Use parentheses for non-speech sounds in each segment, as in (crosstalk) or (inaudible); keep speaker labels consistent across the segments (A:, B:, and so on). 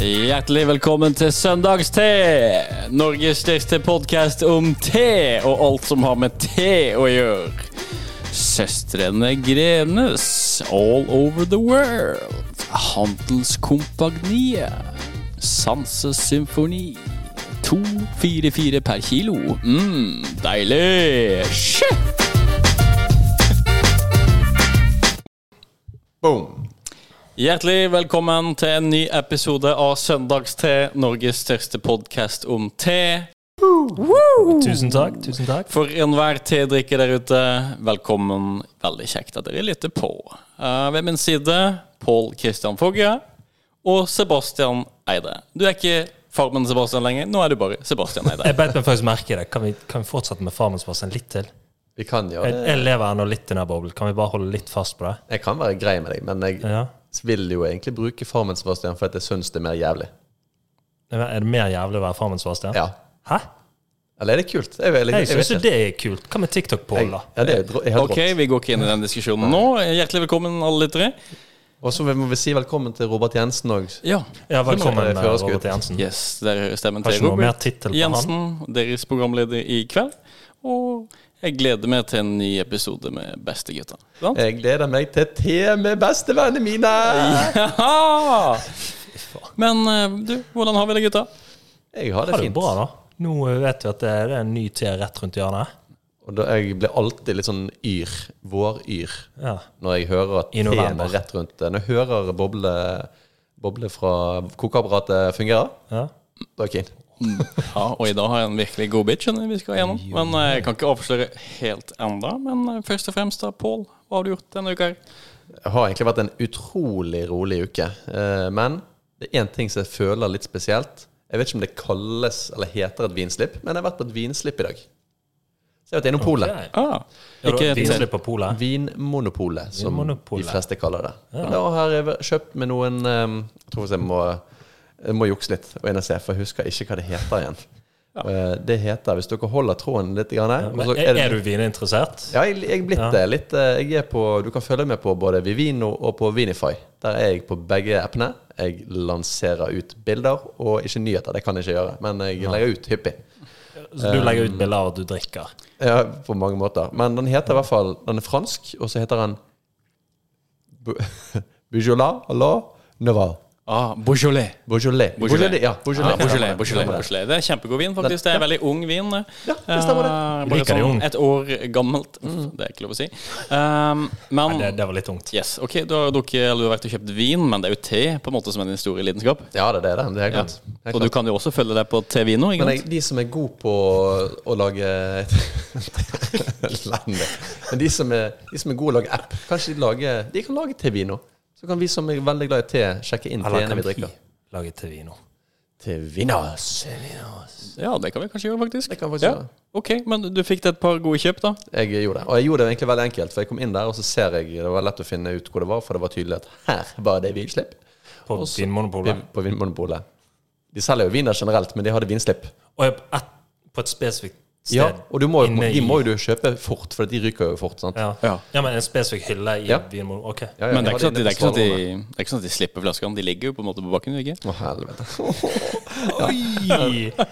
A: Hjertelig velkommen til Søndagste! Norges største podkast om te og alt som har med te å gjøre. Søstrene Grenes all over the world. Handelskompagniet. Sanses symfoni. 244 per kilo. Mm, deilig! Shit!
B: Boom.
A: Hjertelig velkommen til en ny episode av Søndagste, Norges største podkast om te.
C: Tusen takk. tusen takk
A: For enhver tedrikker der ute, velkommen. Veldig kjekt at dere lytter på. Eh, ved min side, Pål Kristian Fogge og Sebastian Eide. Du er ikke farmen Sebastian lenger, nå er du bare Sebastian Eide.
C: Jeg beit meg faktisk merke i det. Kan vi, kan vi fortsette med Farmensbassen litt til?
B: Vi kan jo
C: Jeg, jeg lever ennå litt i den boblen. Kan vi bare holde litt fast på det?
B: Jeg kan være grei med deg, men jeg
C: Ja.
B: vil jo egentlig bruke farmen Sebastian for at jeg syns det er mer jævlig.
C: Er det mer jævlig å være Farmensbassen?
B: Ja.
C: Hæ?
B: Eller er det kult? Jeg, vil,
C: Jeg syns jo
B: vet ikke.
C: det er kult. Hva med TikTok-Pål, da?
B: Jeg- Ja, det er dro- jeg har
A: Ok,
B: drått.
A: vi går ikke inn i den diskusjonen nå. Hjertelig velkommen, alle lyttere.
B: Og så må vi si velkommen til Robert Jensen òg.
A: Ja.
C: Ja, velkommen,
B: Det er
C: eh,
B: førerskudd.
C: Robert Jensen.
A: Yes, der hører stemmen
C: Har
A: til
C: ikke noe mer
A: Robert
C: tittel på han.
A: Jensen, deres programleder i kveld. Og jeg gleder meg til en ny episode med Bestegutta. Sant? (laughs)
B: Jeg gleder meg til te med bestevennene mine!
A: Jaha! Men eh, du, hvordan har vi det, gutta?
B: Jeg har det
C: Ha det
B: fint.
C: bra, da. Nå eh, vet vi at det er en ny te rett rundt hjørnet.
B: Og da, jeg blir alltid litt sånn yr, våryr,
C: Ja.
B: når jeg hører at
C: I
B: teen
C: november.
B: er rett rundt Når jeg hører boble, boble fra kokeapparatet fungerer,
C: Ja.
B: da er jeg keen.
A: Ja, og i dag har jeg en virkelig god bit skjønner jeg, vi skal gjennom. Men eh, jeg kan ikke avsløre helt enda. Men eh, først og fremst, da, Pål, hva har du gjort denne uka? her?
B: Det har egentlig vært en utrolig rolig uke. Eh, Men det er én ting som jeg føler litt spesielt. Jeg vet ikke om det kalles eller heter et vinslipp, men jeg har vært på et vinslipp i dag. Så jeg har vært innom polet.
C: Okay.
A: Ah,
C: Ja,
A: ikke
C: da,
A: et-
C: Vinslipp på polet.
B: Vinmonopolet, som
C: Vinmonopolet.
B: de fleste kaller det. Og da har jeg kjøpt med noen eh, Jeg tror faktisk jeg må, jeg må jukse litt og inn og se, for jeg husker ikke hva det heter igjen. Eh, Det heter, Hvis dere holder tråden litt grann her og
C: Men
B: så
C: Er,
B: det-
C: er du vininteressert?
B: ja, jeg, jeg er blitt det. Litt, eh, jeg er på, du kan følge med på både Vivino og på Vinify. Der er jeg på begge appene. Jeg lanserer ut bilder, og ikke nyheter. Det kan jeg ikke gjøre, men jeg legger ut hyppig.
C: Så du
B: Um,
C: legger ut bilder av at du drikker?
B: Ja, på mange måter. Men den heter i hvert fall Den er fransk, og så heter den Bu- (laughs) Bujola la Noval.
A: ah, Beaujolais.
B: Beaujolais. Beaujolais. Ja,
A: Ja,
B: Beaujolais.
A: Beaujolais, Beaujolais, Beaujolais. Det er kjempegod vin, faktisk. Det er veldig ung vin.
B: Ja, det stemmer det. Mm.
A: Eh,
C: Liker
A: Bare
C: det
A: sånn
C: ung.
A: et år gammelt. Uff, Det er ikke lov å si. Um,
C: Nei,
A: men
C: det, det var litt tungt.
A: Yes, ok, du har drukket, eller du har vært og kjøpt vin, men det er jo te på en måte som er din store lidenskap.
B: Ja, det er det. Det er helt klart. Helt
A: Og du
B: klart.
A: kan jo også følge deg på T-vino. ikke
B: Men
A: sant?
B: jeg, de som er gode på å lage (laughs) Elendig. Men de som, er, de som er gode å lage app, kanskje de, lager, de kan lage Tevino. Så kan vi som er veldig glad i te, sjekke inn
C: Eller
B: teene
C: kan
B: vi drikker.
C: vi lage til vino?
B: Tevinas.
A: Ja, det kan vi kanskje gjøre, faktisk.
B: Det kan vi faktisk
A: ja.
B: gjøre.
A: Ok, men du fikk deg et par gode kjøp, da?
B: Jeg gjorde det. Og jeg gjorde det egentlig veldig enkelt, for jeg kom inn der, og så ser jeg Det var lett å finne ut hvor det var, for det var tydelig at her var det vinslipp.
C: På
B: Også-
C: Vinmonopolet?
B: På Vinmonopolet. De selger jo viner generelt, men de hadde vinslipp.
C: Og jeg- et, på et spesifikt sted?
B: Ja, og du må, jo-
C: inne i-
B: de må jo du kjøpe fort, for de ryker jo fort. sant?
C: ja.
A: Ja.
C: Ja. men en spesifikk hylle i
B: Ja.
C: Vinmonopolet? Ok.
B: Ja, ja,
A: Men det er,
B: jeg
A: ikke sånn
B: hadde
A: at, de- det, er ikke sånn at
B: inne på
A: de, det er ikke sånn at de slipper flaskene. De ligger jo på en måte på bakken. ikke?
B: Å, helvete.
C: Oi!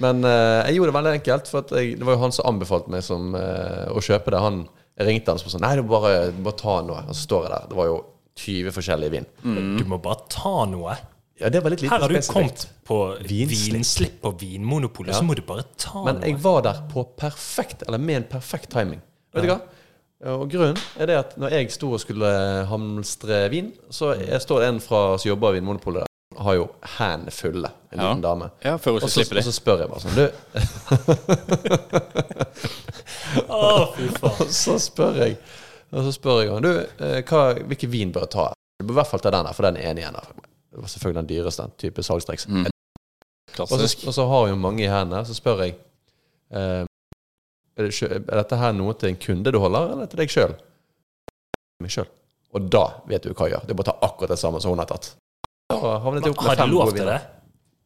B: Men eh, jeg gjorde det veldig enkelt, for at jeg, det var jo han som anbefalte meg som, eh, å kjøpe det. Han jeg ringte han og sånn Nei, du bare, bare ta noe. Og så står jeg der. Det var jo 20 forskjellige vin.
C: Du må bare ta noe.
B: Ja, det var litt lite
C: Mm. Her har du
B: spesifikt.
C: kommet på
B: Vinslipp.
C: vinslipp, på Vinmonopolet, så må du bare ta
B: Men
C: noe.
B: jeg var der på perfekt, eller med en perfekt timing. Vet du hva? Og grunnen er det at når jeg sto og skulle eh, hamstre vin, så jeg står det en fra som jobber i Vinmonopolet der. Har jo hendene fulle, en
A: Ja.
B: liten dame.
A: Ja, før
B: Og
A: hun
B: så,
A: slipper
B: og
A: de.
B: så spør jeg bare sånn Du,
C: Å,
B: (laughs)
C: fy faen.
B: Og så spør jeg Og så spør jeg han Du, eh, hva, hvilken vin bør jeg ta? Du bør i hvert fall ta den her, for den er enig igjen der. Det var selvfølgelig den dyreste, den type salgstriks.
A: Mm.
B: Og, så- og så har jeg jo mange i hendene, så spør jeg eh, er, det, kjø- er dette her noe til en kunde du holder, eller til deg sjøl? Meg sjøl. Og da vet du hva jeg gjør. Det er bare å ta akkurat det samme som hun har tatt. Da havnet jeg opp
C: Har
B: med
C: de
B: fem
C: lov
B: gode
C: til
B: viner.
C: det?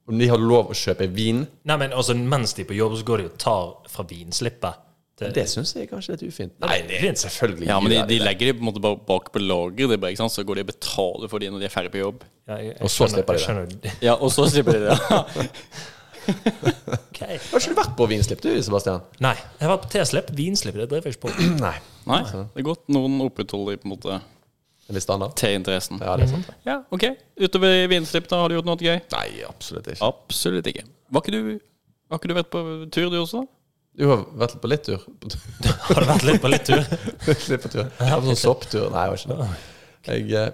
B: Om de har lov å kjøpe vin
C: Nei, men altså, Mens de er på jobb, så går de og tar fra vinslippet. til
B: Det syns jeg kanskje er litt ufint. Nei, det er selvfølgelig
A: Ja, men de,
B: gjør
A: de legger de på en måte bare bak på lager, det er bare, ikke sant? så går de og betaler for de når de er ferdig på jobb.
C: Ja, jeg, jeg
B: Og så
C: skjønner-
B: slipper de
C: jeg skjønner (laughs) det.
A: Ja, og så slipper de det.
C: Ok.
B: Har ikke du vært på vinslipp, du, Sebastian?
C: Nei. Jeg har vært på teslipp. Vinslipp, det driver jeg ikke på.
B: Nei.
A: (laughs) Nei, det er godt noen opprettholder på en måte
B: Er det standard?
A: T-interessen.
B: Ja, det er sant.
A: Ja, ok. Utover i vinslipp, da, har du gjort noe gøy?
B: Nei, absolutt ikke.
A: Absolutt ikke. Var ikke du, var ikke du vært på tur, du også?
B: Du har vært på litt tur. På tur. (laughs)
C: Har det vært litt på litt tur?
B: Litt på tur. Jeg var på sånn sopptur. Nei, jeg var ikke det. Jeg eh,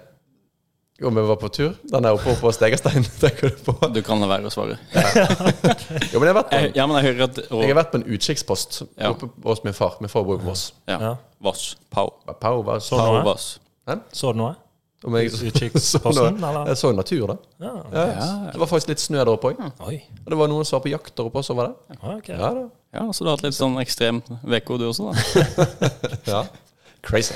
B: Jo, men jeg var på tur. Den er oppe på Stegastein, (laughs) tenker du på?
A: Du kan la være å svare.
B: Jo, men jeg har vært på
A: Jeg,
B: en,
A: ja, men jeg hører at
B: jeg
A: og,
B: har vært på en utkikkspost
A: Ja.
B: oppe hos min far. Min far bor jo på Voss.
A: ja.
C: Ja.
A: Voss. Pau.
B: Pau var sånn.
A: Pau
C: Noe?
A: Voss.
C: Så du noe?
B: Om jeg,
C: (laughs)
B: (laughs)
C: Utkikksposten,
B: så noe-
C: Sånn, eller?
B: jeg så natur, da.
C: Ja.
B: Ja. Det var faktisk litt snø der oppe òg.
C: Oi.
B: Og det var noen som var på jakt der oppe også, var det?
C: Ja, ok.
B: Ja da.
A: Ja, så du har hatt litt sånn ekstrem uke, du også,
C: (laughs)
A: da.
B: Ja. Crazy.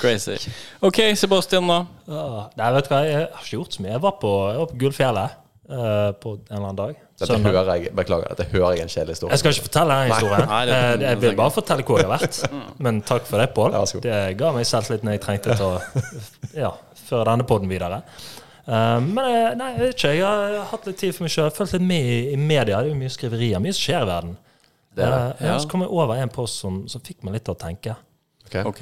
A: Crazy. OK, Sebastian, da.
C: Ja. Nei, vet du hva, jeg har ikke gjort så mye. Jeg var på, jeg var på Gullfjellet eh, på en eller annen dag.
B: Dette
C: Søndag.
B: hører jeg, beklager, dette hører jeg en kjedelig historie.
C: Jeg skal ikke fortelle den historien.
A: Nei, det kan
C: Eh,
A: du
C: jeg vil bare fortelle hvor jeg har vært. Men takk for det, Pål.
B: Ja, vær så god.
C: Det ga meg selvtilliten jeg trengte til å ja, føre denne podden videre. Eh, men eh, nei, jeg vet ikke. Jeg har hatt litt tid for meg sjøl. Fulgt litt med i, i media. Det er jo mye skriverier. Mye som skjer i verden. Eh,
A: ja.
C: Så kom jeg over en post som, som fikk meg litt til å tenke.
B: Ok.
A: OK.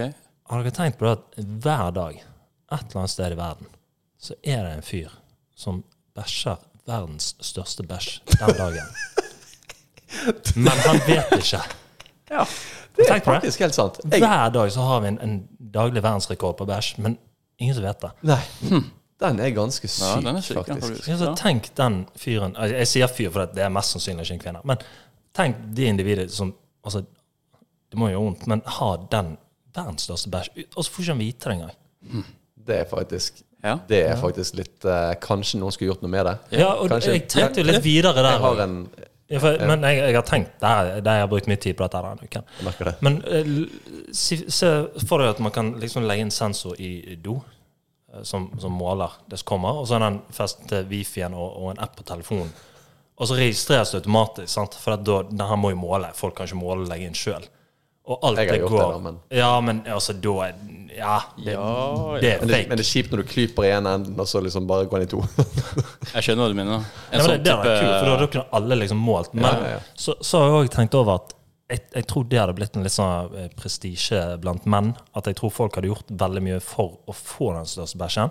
C: Har dere tenkt på det at hver dag, et eller annet sted i verden, så er det en fyr som bæsjer verdens største bæsj den dagen. Men han vet ikke.
A: Ja.
B: Det er
C: Tenk på det.
B: faktisk helt sant. Jeg,
C: Hver dag så har vi en, en daglig verdensrekord på bæsj, men ingen som vet det.
B: nei. Den er ganske syk,
A: Hm. Ja, den er syk, ja,
B: faktisk.
A: faktisk.
C: Altså, tenk den fyren altså, Jeg sier fyr fordi det er mest sannsynlig ikke en kvinne. Men tenk de individet som altså, Det må jo gjøre vondt, men har den verdens største bæsj. Og så får ikke han vite det engang.
B: Det er faktisk
A: Ja.
B: Det er faktisk litt eh, Kanskje noen skulle gjort noe med det.
C: Ja, og
B: Kanskje-
C: jeg tenkte jo litt videre
B: Jeg
C: der.
B: har en
C: Ja, for, men jeg, jeg har tenkt det her, det jeg har brukt mye tid på dette her denne uken.
B: Jeg merker det.
C: Men eh, l- si, se for deg at man kan liksom legge en sensor i do eh, som, som måler det som kommer, og så er den festet til wifien og, og en app på telefonen. Og så registreres det automatisk, sant? for at da, det her må jo måle. Folk kan ikke måle og legge inn sjøl. Og alt
B: Jeg har
C: det
B: gjort
C: går
B: det da, men-
C: Ja, men altså, da er Ja, det,
A: Ja,
C: det er
B: Men det,
C: fake.
B: men det er kjipt når du klyper i en enden, og så liksom bare går den i to.
A: Jeg skjønner hva du mener. En
C: Ja, men det,
A: sånn
C: det hadde
A: type
C: vært kult, for da- da kunne alle liksom målt. Men
B: ja, ja.
C: Så, så har jeg òg tenkt over at jeg, jeg tror det hadde blitt en litt sånn eh, prestisje blant menn. At jeg tror folk hadde gjort veldig mye for å få den største bæsjen.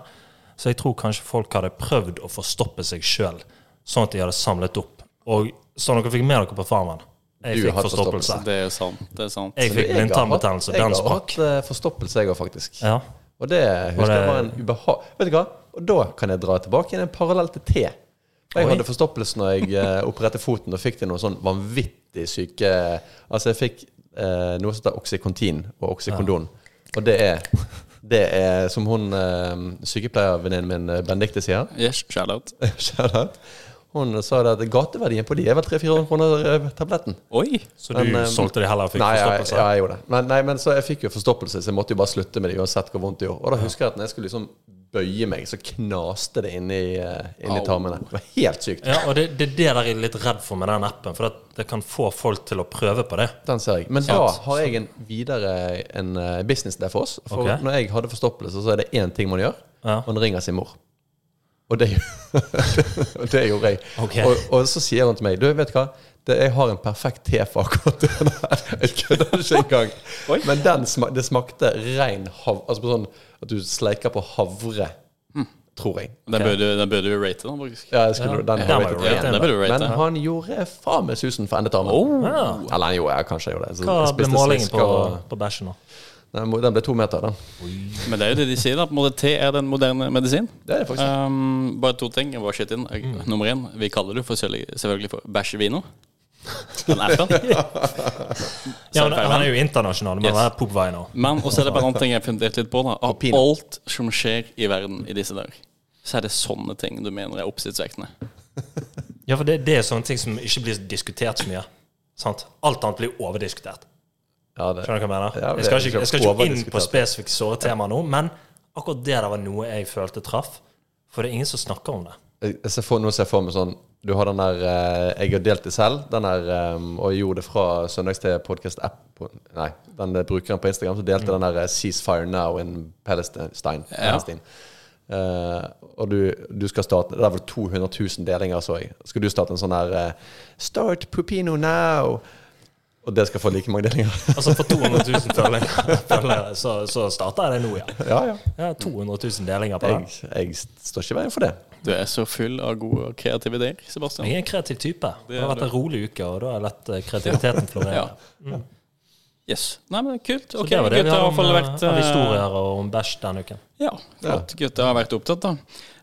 C: Så jeg tror kanskje folk hadde prøvd å forstoppe seg sjøl, sånn at de hadde samlet opp. Og så dere fikk med dere på Farmen. Jeg
B: Du
C: fikk
B: har hatt
C: forstoppelse.
A: Det er sant. Det er sant.
C: Jeg fikk
B: (laughs) Jeg har hatt-
C: blindtarmbetennelse. Den sprakk.
B: Jeg har hatt eh, forstoppelse, jeg òg, faktisk.
C: Ja.
B: Og det
C: Og
B: husker
C: det-
B: jeg var en ubehag... Vet du hva? Og da kan jeg dra tilbake igjen en parallell til te. For jeg
C: Oi.
B: hadde forstoppelse når jeg eh, opererte foten og fikk til noe sånn vanvittig syke Altså, jeg fikk eh, noe som heter oksykontin og oksykondon. Og det er det er som hun eh, sykepleiervenninnen min eh, Benedicte sier. (laughs)
A: Yes, shout out.
B: Shout out. Hun sa det at gateverdien på de er vel 300-400 kroner eh, tabletten.
A: Oi!
C: Så du
B: Men, eh,
C: solgte de heller og fikk
B: Nei, ja,
C: forstoppelse?
B: ja, jeg gjorde det. Men, nei, men så jeg fikk jo forstoppelse, så jeg måtte jo bare slutte med det uansett hvor vondt det gjorde. Og da husker jeg at når jeg skulle liksom bøye meg, så knaste det inni, eh, inni
A: Au.
B: tarmene. Det var helt sykt.
C: Ja, og det, det er det der jeg er litt redd for med den appen. For at det kan få folk til å prøve på det.
B: Den ser jeg. Men da har jeg en videre en eh, business der for oss. For
C: Ok.
B: når jeg hadde forstoppelse, så er det én ting man gjør.
C: Ja.
B: Man ringer sin mor. Og det, og (laughs) det gjorde jeg.
C: Ok.
B: Og, og så sier hun til meg Du, vet du hva? Det, jeg har en perfekt te for akkurat det der. (laughs) Jeg kødder ikke engang.
A: Oi.
B: Men den sma, det smakte rein hav... Altså på sånn at du sleiker på havre, tror jeg.
A: Den burde du- den burde du rate, da, faktisk.
B: Ja, jeg
C: Hm.
B: skulle,
C: Ja.
B: Den,
C: Den
B: har
C: var
B: jeg
C: jo
B: ikke
A: Ja,
C: rate,
B: igjen.
A: den burde du rate.
B: Men han gjorde faen meg susen for endetarmen.
C: Ja.
B: Eller han gjorde, ja, kanskje han gjorde det. Så
C: Hva
B: jeg
C: ble
B: spiste
C: målingen
B: slisker
C: på,
B: og-
C: på bæsjen nå?
B: Den, må- den ble to meter, den.
A: Men det er jo det de sier, da. På en måte, te er den moderne medisin.
B: Det er det faktisk.
A: Ehm, bare to ting. Jeg bare skyter inn. Jeg-
C: Mm.
A: Nummer én, vi kaller det for selvfølgelig, selvfølgelig for bæsjevino. Den appen.
C: (laughs) Ja,
B: Sånn
A: Så er det
C: men,
A: feil,
C: han er jo internasjonal, men
A: Yes.
C: yes. er Popvei nå.
A: Men også er det bare en annen ting jeg har fundert litt på. da Av
B: Opinion.
A: alt som skjer i verden i disse dager, så er det sånne ting du mener er oppsiktsvekkende.
C: Ja, for det, det er sånne ting som ikke blir diskutert så mye. Sant? Alt annet blir overdiskutert.
B: Ja, det.
C: Skjønner du hva jeg
B: Ja,
C: mener? Jeg
B: det
C: skal ikke,
B: er liksom
C: jeg skal ikke inn
B: overdiskutert.
C: på spesifikke såre temaer nå, men akkurat det der var noe jeg følte traff. For det er ingen som snakker om det.
B: Jeg jeg ser for, nå ser jeg for meg sånn Du har den der eh, 'Jeg har delt det selv', den der eh, og jeg gjorde det fra søndags til podkast-app på- Nei, den eh, brukeren på Instagram som delte den der eh, 'Ceasefire now in Palestine'. Palestine. Eh, og du, du skal starte Det er vel 200 000 delinger, så jeg. Skal du starte en sånn her eh, 'Start Pupino now'? Og det skal få like mange delinger?
C: Altså for 200
B: (laughs)
C: 000 følgere- følgere, så, så starter jeg det nå, ja.
B: ja, ja.
C: ja. 200 000 delinger på den.
B: (laughs) Jeg, jeg står ikke i veien for det.
A: Du er så full av gode og kreative ideer, Sebastian.
C: Jeg er en kreativ type. Det har
A: er
C: vært en rolig uke, og da har jeg latt eh,
B: (laughs)
C: kreativiteten florere.
A: Ja. Yes. Nei, men kult.
C: Så
A: Ok,
C: det var det
A: gutta
C: vi har
A: har
C: om,
A: iallfall
C: eh,
A: vært
C: av
A: eh,
C: historier og om bæsj denne uken.
A: Ja, flott. Gutta har vært opptatt, da.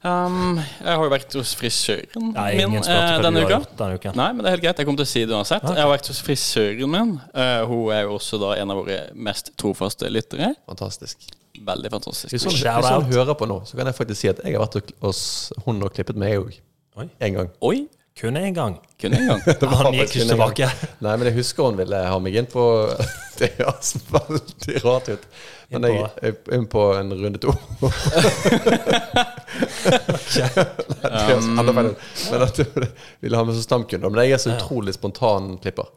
A: Um, jeg har jo vært hos frisøren
C: Nei,
A: min
C: ingen spurte
A: eh,
C: hva du
A: denne
C: har
A: uka.
C: gjort denne uken.
A: Nei, men det er helt greit. Jeg kommer til å si det uansett. Jeg har vært hos frisøren min. Eh, hun er jo også da en av våre mest trofaste lyttere.
B: Fantastisk.
A: Veldig fantastisk.
B: Hvis hun, hvis
C: Shout
B: hun
C: out.
B: hører på nå, så kan jeg faktisk si at jeg har vært og- hos hun og klippet meg òg.
C: Oi.
B: En gang.
A: Oi,
C: Kun én gang. Ah,
A: kun en gang.
B: Det var
C: Han gikk
B: faktisk
C: ikke
B: en gang.
C: tilbake.
B: (laughs) Nei, men jeg husker hun ville ha meg inn på (laughs) Det høres veldig rart ut. Men
C: Inn
B: jeg
C: på-
B: jeg- inn på en runde
C: (laughs)
B: to. (laughs) Nei, det høres
A: Um,
B: enda feil ut. Men at hun ville ha meg som stamkunde. Men jeg er så utrolig spontan klipper.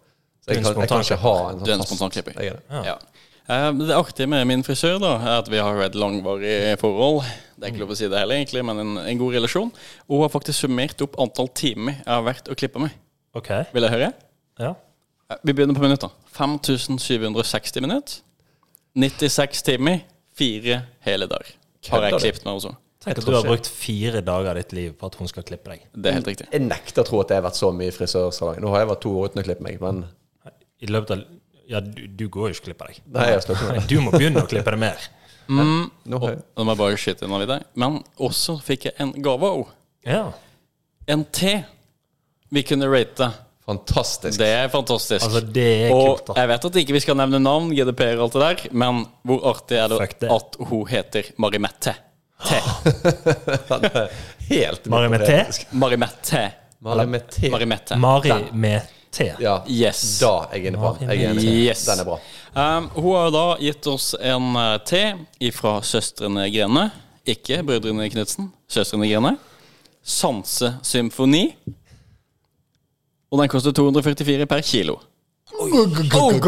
B: Så jeg
C: Du er en
B: kan, jeg kan ikke ha en
A: Du er
B: sånn
A: en
B: fast
A: spontan klipper.
B: Jeg er det.
A: Ja. Eh, Det artige med min frisør da er at vi har jo et langvarig forhold. Det er ikke lov å si det heller, egentlig, men en, en god relasjon. Og hun har faktisk summert opp antall timer jeg har vært og klippa meg.
C: OK.
A: Vil jeg høre?
C: Ja.
A: Eh, Vi begynner på minutter. 5760 minutter. 96 timer. Fire hele dager. Har
B: Kødder
A: jeg
B: du?
A: klippet meg også.
C: Tenk
B: Jeg
C: at du
B: tror
C: har
B: ikke-
C: brukt fire dager av ditt liv på at hun skal klippe deg.
A: Det er helt riktig.
B: Jeg nekter å tro at jeg har vært så mye i frisørsalongen. Nå har jeg vært to år uten å klippe meg, men
C: I løpet av Ja, du, du går jo ikke og klipper deg.
B: Nei, jeg har sluttet med
C: Nei, Du må begynne å klippe deg mer.
B: Nå har jeg
A: Nå må jeg bare skyte inn videre. Men også fikk jeg en gave òg.
C: Ja.
A: En te vi kunne rate.
B: Fantastisk. (laughs)
A: Det er fantastisk.
C: Altså, det er
A: og
C: kult, da.
A: jeg vet at ikke vi skal nevne navn, GDPR og alt det der, men hvor artig er det,
C: Fuck det.
A: at hun heter Marimette? Te.
B: Helt
C: Mari med
B: hypotetisk.
C: T. (gasps)
A: Marimette.
B: Mari med T.
A: Marimette.
C: Mari med T.
B: Ja.
A: Yes.
B: Da er jeg inne på den. Jeg er enig.
A: Yes.
B: Den er bra.
A: Um, hun har jo da gitt oss en eh, te ifra søstrene Grene. Ikke brødrene Knutsen. Søstrene Grene. Sansesymfoni. Og den koster 244 per kilo.
C: Det,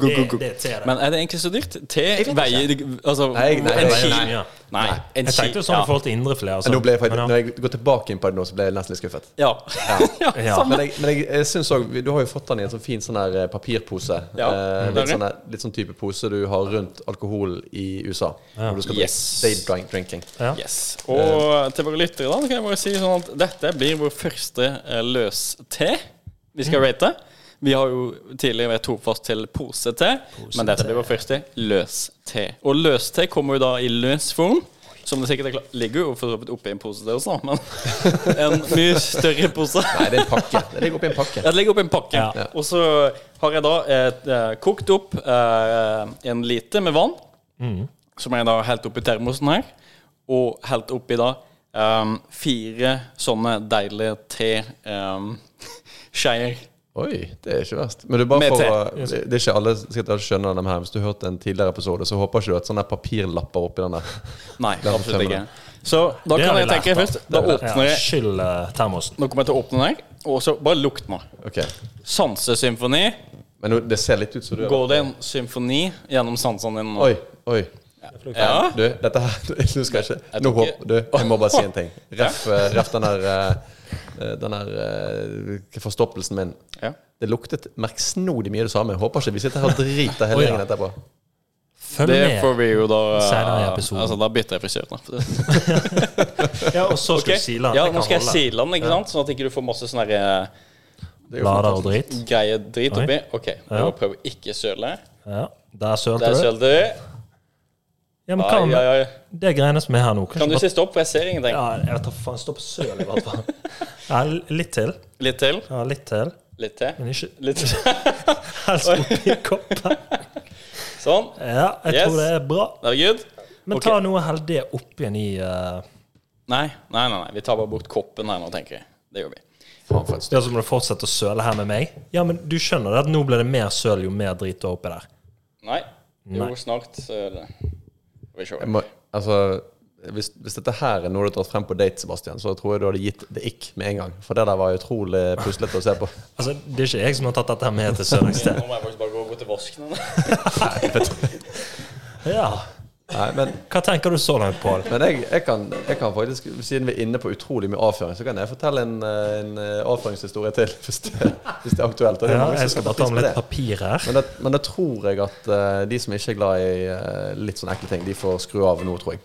C: det er T, det.
A: Men er det egentlig så dyrt? Te veier altså,
B: Nei, nei,
A: en
B: nei,
A: kilo-
C: nei, nei.
A: Nei, en
C: Jeg tenkte
A: kilo-
C: jo sånn i forhold til indrefilet.
B: Men nå ble jeg faktisk,
C: Men ja.
B: når jeg går tilbake inn på det nå, så ble jeg nesten litt skuffet.
A: Ja. (laughs) ja.
C: eh, Ja.
A: samme.
B: Men jeg, men jeg, jeg syns òg Du har jo fått den i en sånn fin sånn her eh, papirpose.
A: Ja, Mm.
B: Eh,
A: det er
B: litt,
A: det.
B: sånn her- litt sånn type pose du har rundt alkohol i USA. Når du skal drikke
A: Yes.
B: day drink- drinking.
C: Ja.
A: Yes. Og eh, til våre lyttere da, kan jeg bare si sånn at dette blir vår første eh, løs-te vi skal rate. Vi har jo tidligere vært trofast til pose-te, men dette blir vår første løs-te. Og løs-te kommer jo da i løs form. Som det sikkert er klart ligger jo for så vidt oppi en pose, det også, men en mye større pose.
B: Nei, det er en pakke.
A: (laughs)
B: Det ligger oppi en pakke.
A: Jeg legger opp en pakke,
C: Ja.
B: Ja.
A: og så har jeg da et, eh, kokt opp eh, en liter med vann,
C: Mm.
A: som jeg da har helt oppi termosen her, og helt oppi da em, fire sånne deilige eh, (laughs) te-skeier.
B: Oi, det er ikke verst. Men du bare
A: Med
B: får,
A: te.
B: eh, det det er ikke alle som sikkert alle skjønner dem her. Hvis du hørte en tidligere episode, så håper ikke du at sånne papirlapper oppi den der. (laughs)
A: Nei,
B: er
A: absolutt ikke.
B: tømmer.
A: Så da
C: Det
A: kan
C: har
A: jeg
C: vi
A: tenke
C: lært,
A: først,
C: da.
A: da åpner
C: Ja,
A: jeg,
C: Skyll eh, termosen.
A: nå kommer jeg til å åpne den her, og så bare lukt nå.
B: Ok
A: Sansesymfoni,
B: Men nå, det ser litt ut som du
A: går det en symfoni gjennom sansene dine nå?
B: Oi, oi.
A: Ja.
B: Du, dette her (laughs) Du skal ikke Nå
A: tok-
B: håper du Jeg må bare si en ting. Ref, eh, ref den her eh, Den her eh, forstoppelsen min.
A: Ja.
B: Det luktet merksnodig mye det samme. Jeg håper ikke vi sitter her og driter hele
C: Oi, ja.
B: gjengen etterpå.
C: Følg
A: Det får
C: med.
A: vi jo da
C: Senere i episoden.
A: Altså, da bytter jeg frisør, da.
C: Ja, og så skal
A: Ok.
C: du sile den.
A: Ja,
C: Jeg
A: nå
C: kan
A: skal jeg
C: holde.
A: sile den, ikke sant? Sånn at ikke du får masse sånn her, eh,
B: Det er jo
C: Blader og
B: fantastisk.
C: drit.
A: greie drit
C: Oi.
A: oppi. OK, nå prøver jeg ikke å søle.
C: Ja, Der sølte
A: Der
C: du.
A: sølte du.
C: Ja, men hva
A: Ai, ai,
C: om
A: ai.
C: det greiene som er her nå?
A: Kan du
C: bare-
A: ikke stoppe, for jeg ser ingenting.
C: Ja, jeg vet da faen. Stopp søl, i hvert fall. Ja, litt til.
A: Litt til.
C: Ja, litt til.
A: Litt til.
C: Men ikke
A: Litt til.
C: helst oppi koppen.
A: Sånn.
C: Ja, jeg
A: Yes.
C: tror det er bra.
A: Det er good.
C: Men
A: Ok.
C: ta noe hell det opp igjen i eh,
A: Nei, nei, nei, nei. Vi tar bare bort koppen her nå, tenker jeg. Det gjør vi.
B: Faen, for et styr.
C: Ja, så må du fortsette å søle her med meg. Ja, men du skjønner det at nå blir det mer søl jo mer drit du har oppi der.
A: Nei. Jo,
C: Nei.
A: snart så er det Skal vi se.
B: Jeg må, altså hvis, hvis dette her er noe du har tatt frem på date, Sebastian, så tror jeg du hadde gitt det ikke med en gang. For det der var utrolig puslete å se
C: (laughs)
B: på.
C: Altså, det er ikke jeg som har tatt dette her med til Sørlandsted.
A: Nå må jeg faktisk bare gå og gå til vasken.
C: Ja.
B: Nei, men
C: Hva tenker du så langt, Pål?
B: men jeg, jeg, kan, jeg kan faktisk, siden vi er inne på utrolig mye avføring, så kan jeg fortelle en, eh, en eh, avføringshistorie til, (laughs) hvis det, hvis det er aktuelt. Og det er
C: Ja,
B: mange som
C: jeg skal
B: setter
C: bare ta
B: pris på
C: med litt
B: det.
C: papir her.
B: Men det, men det tror jeg at eh, de som ikke er glad i eh, litt sånne ekle ting, de får skru av nå, tror jeg.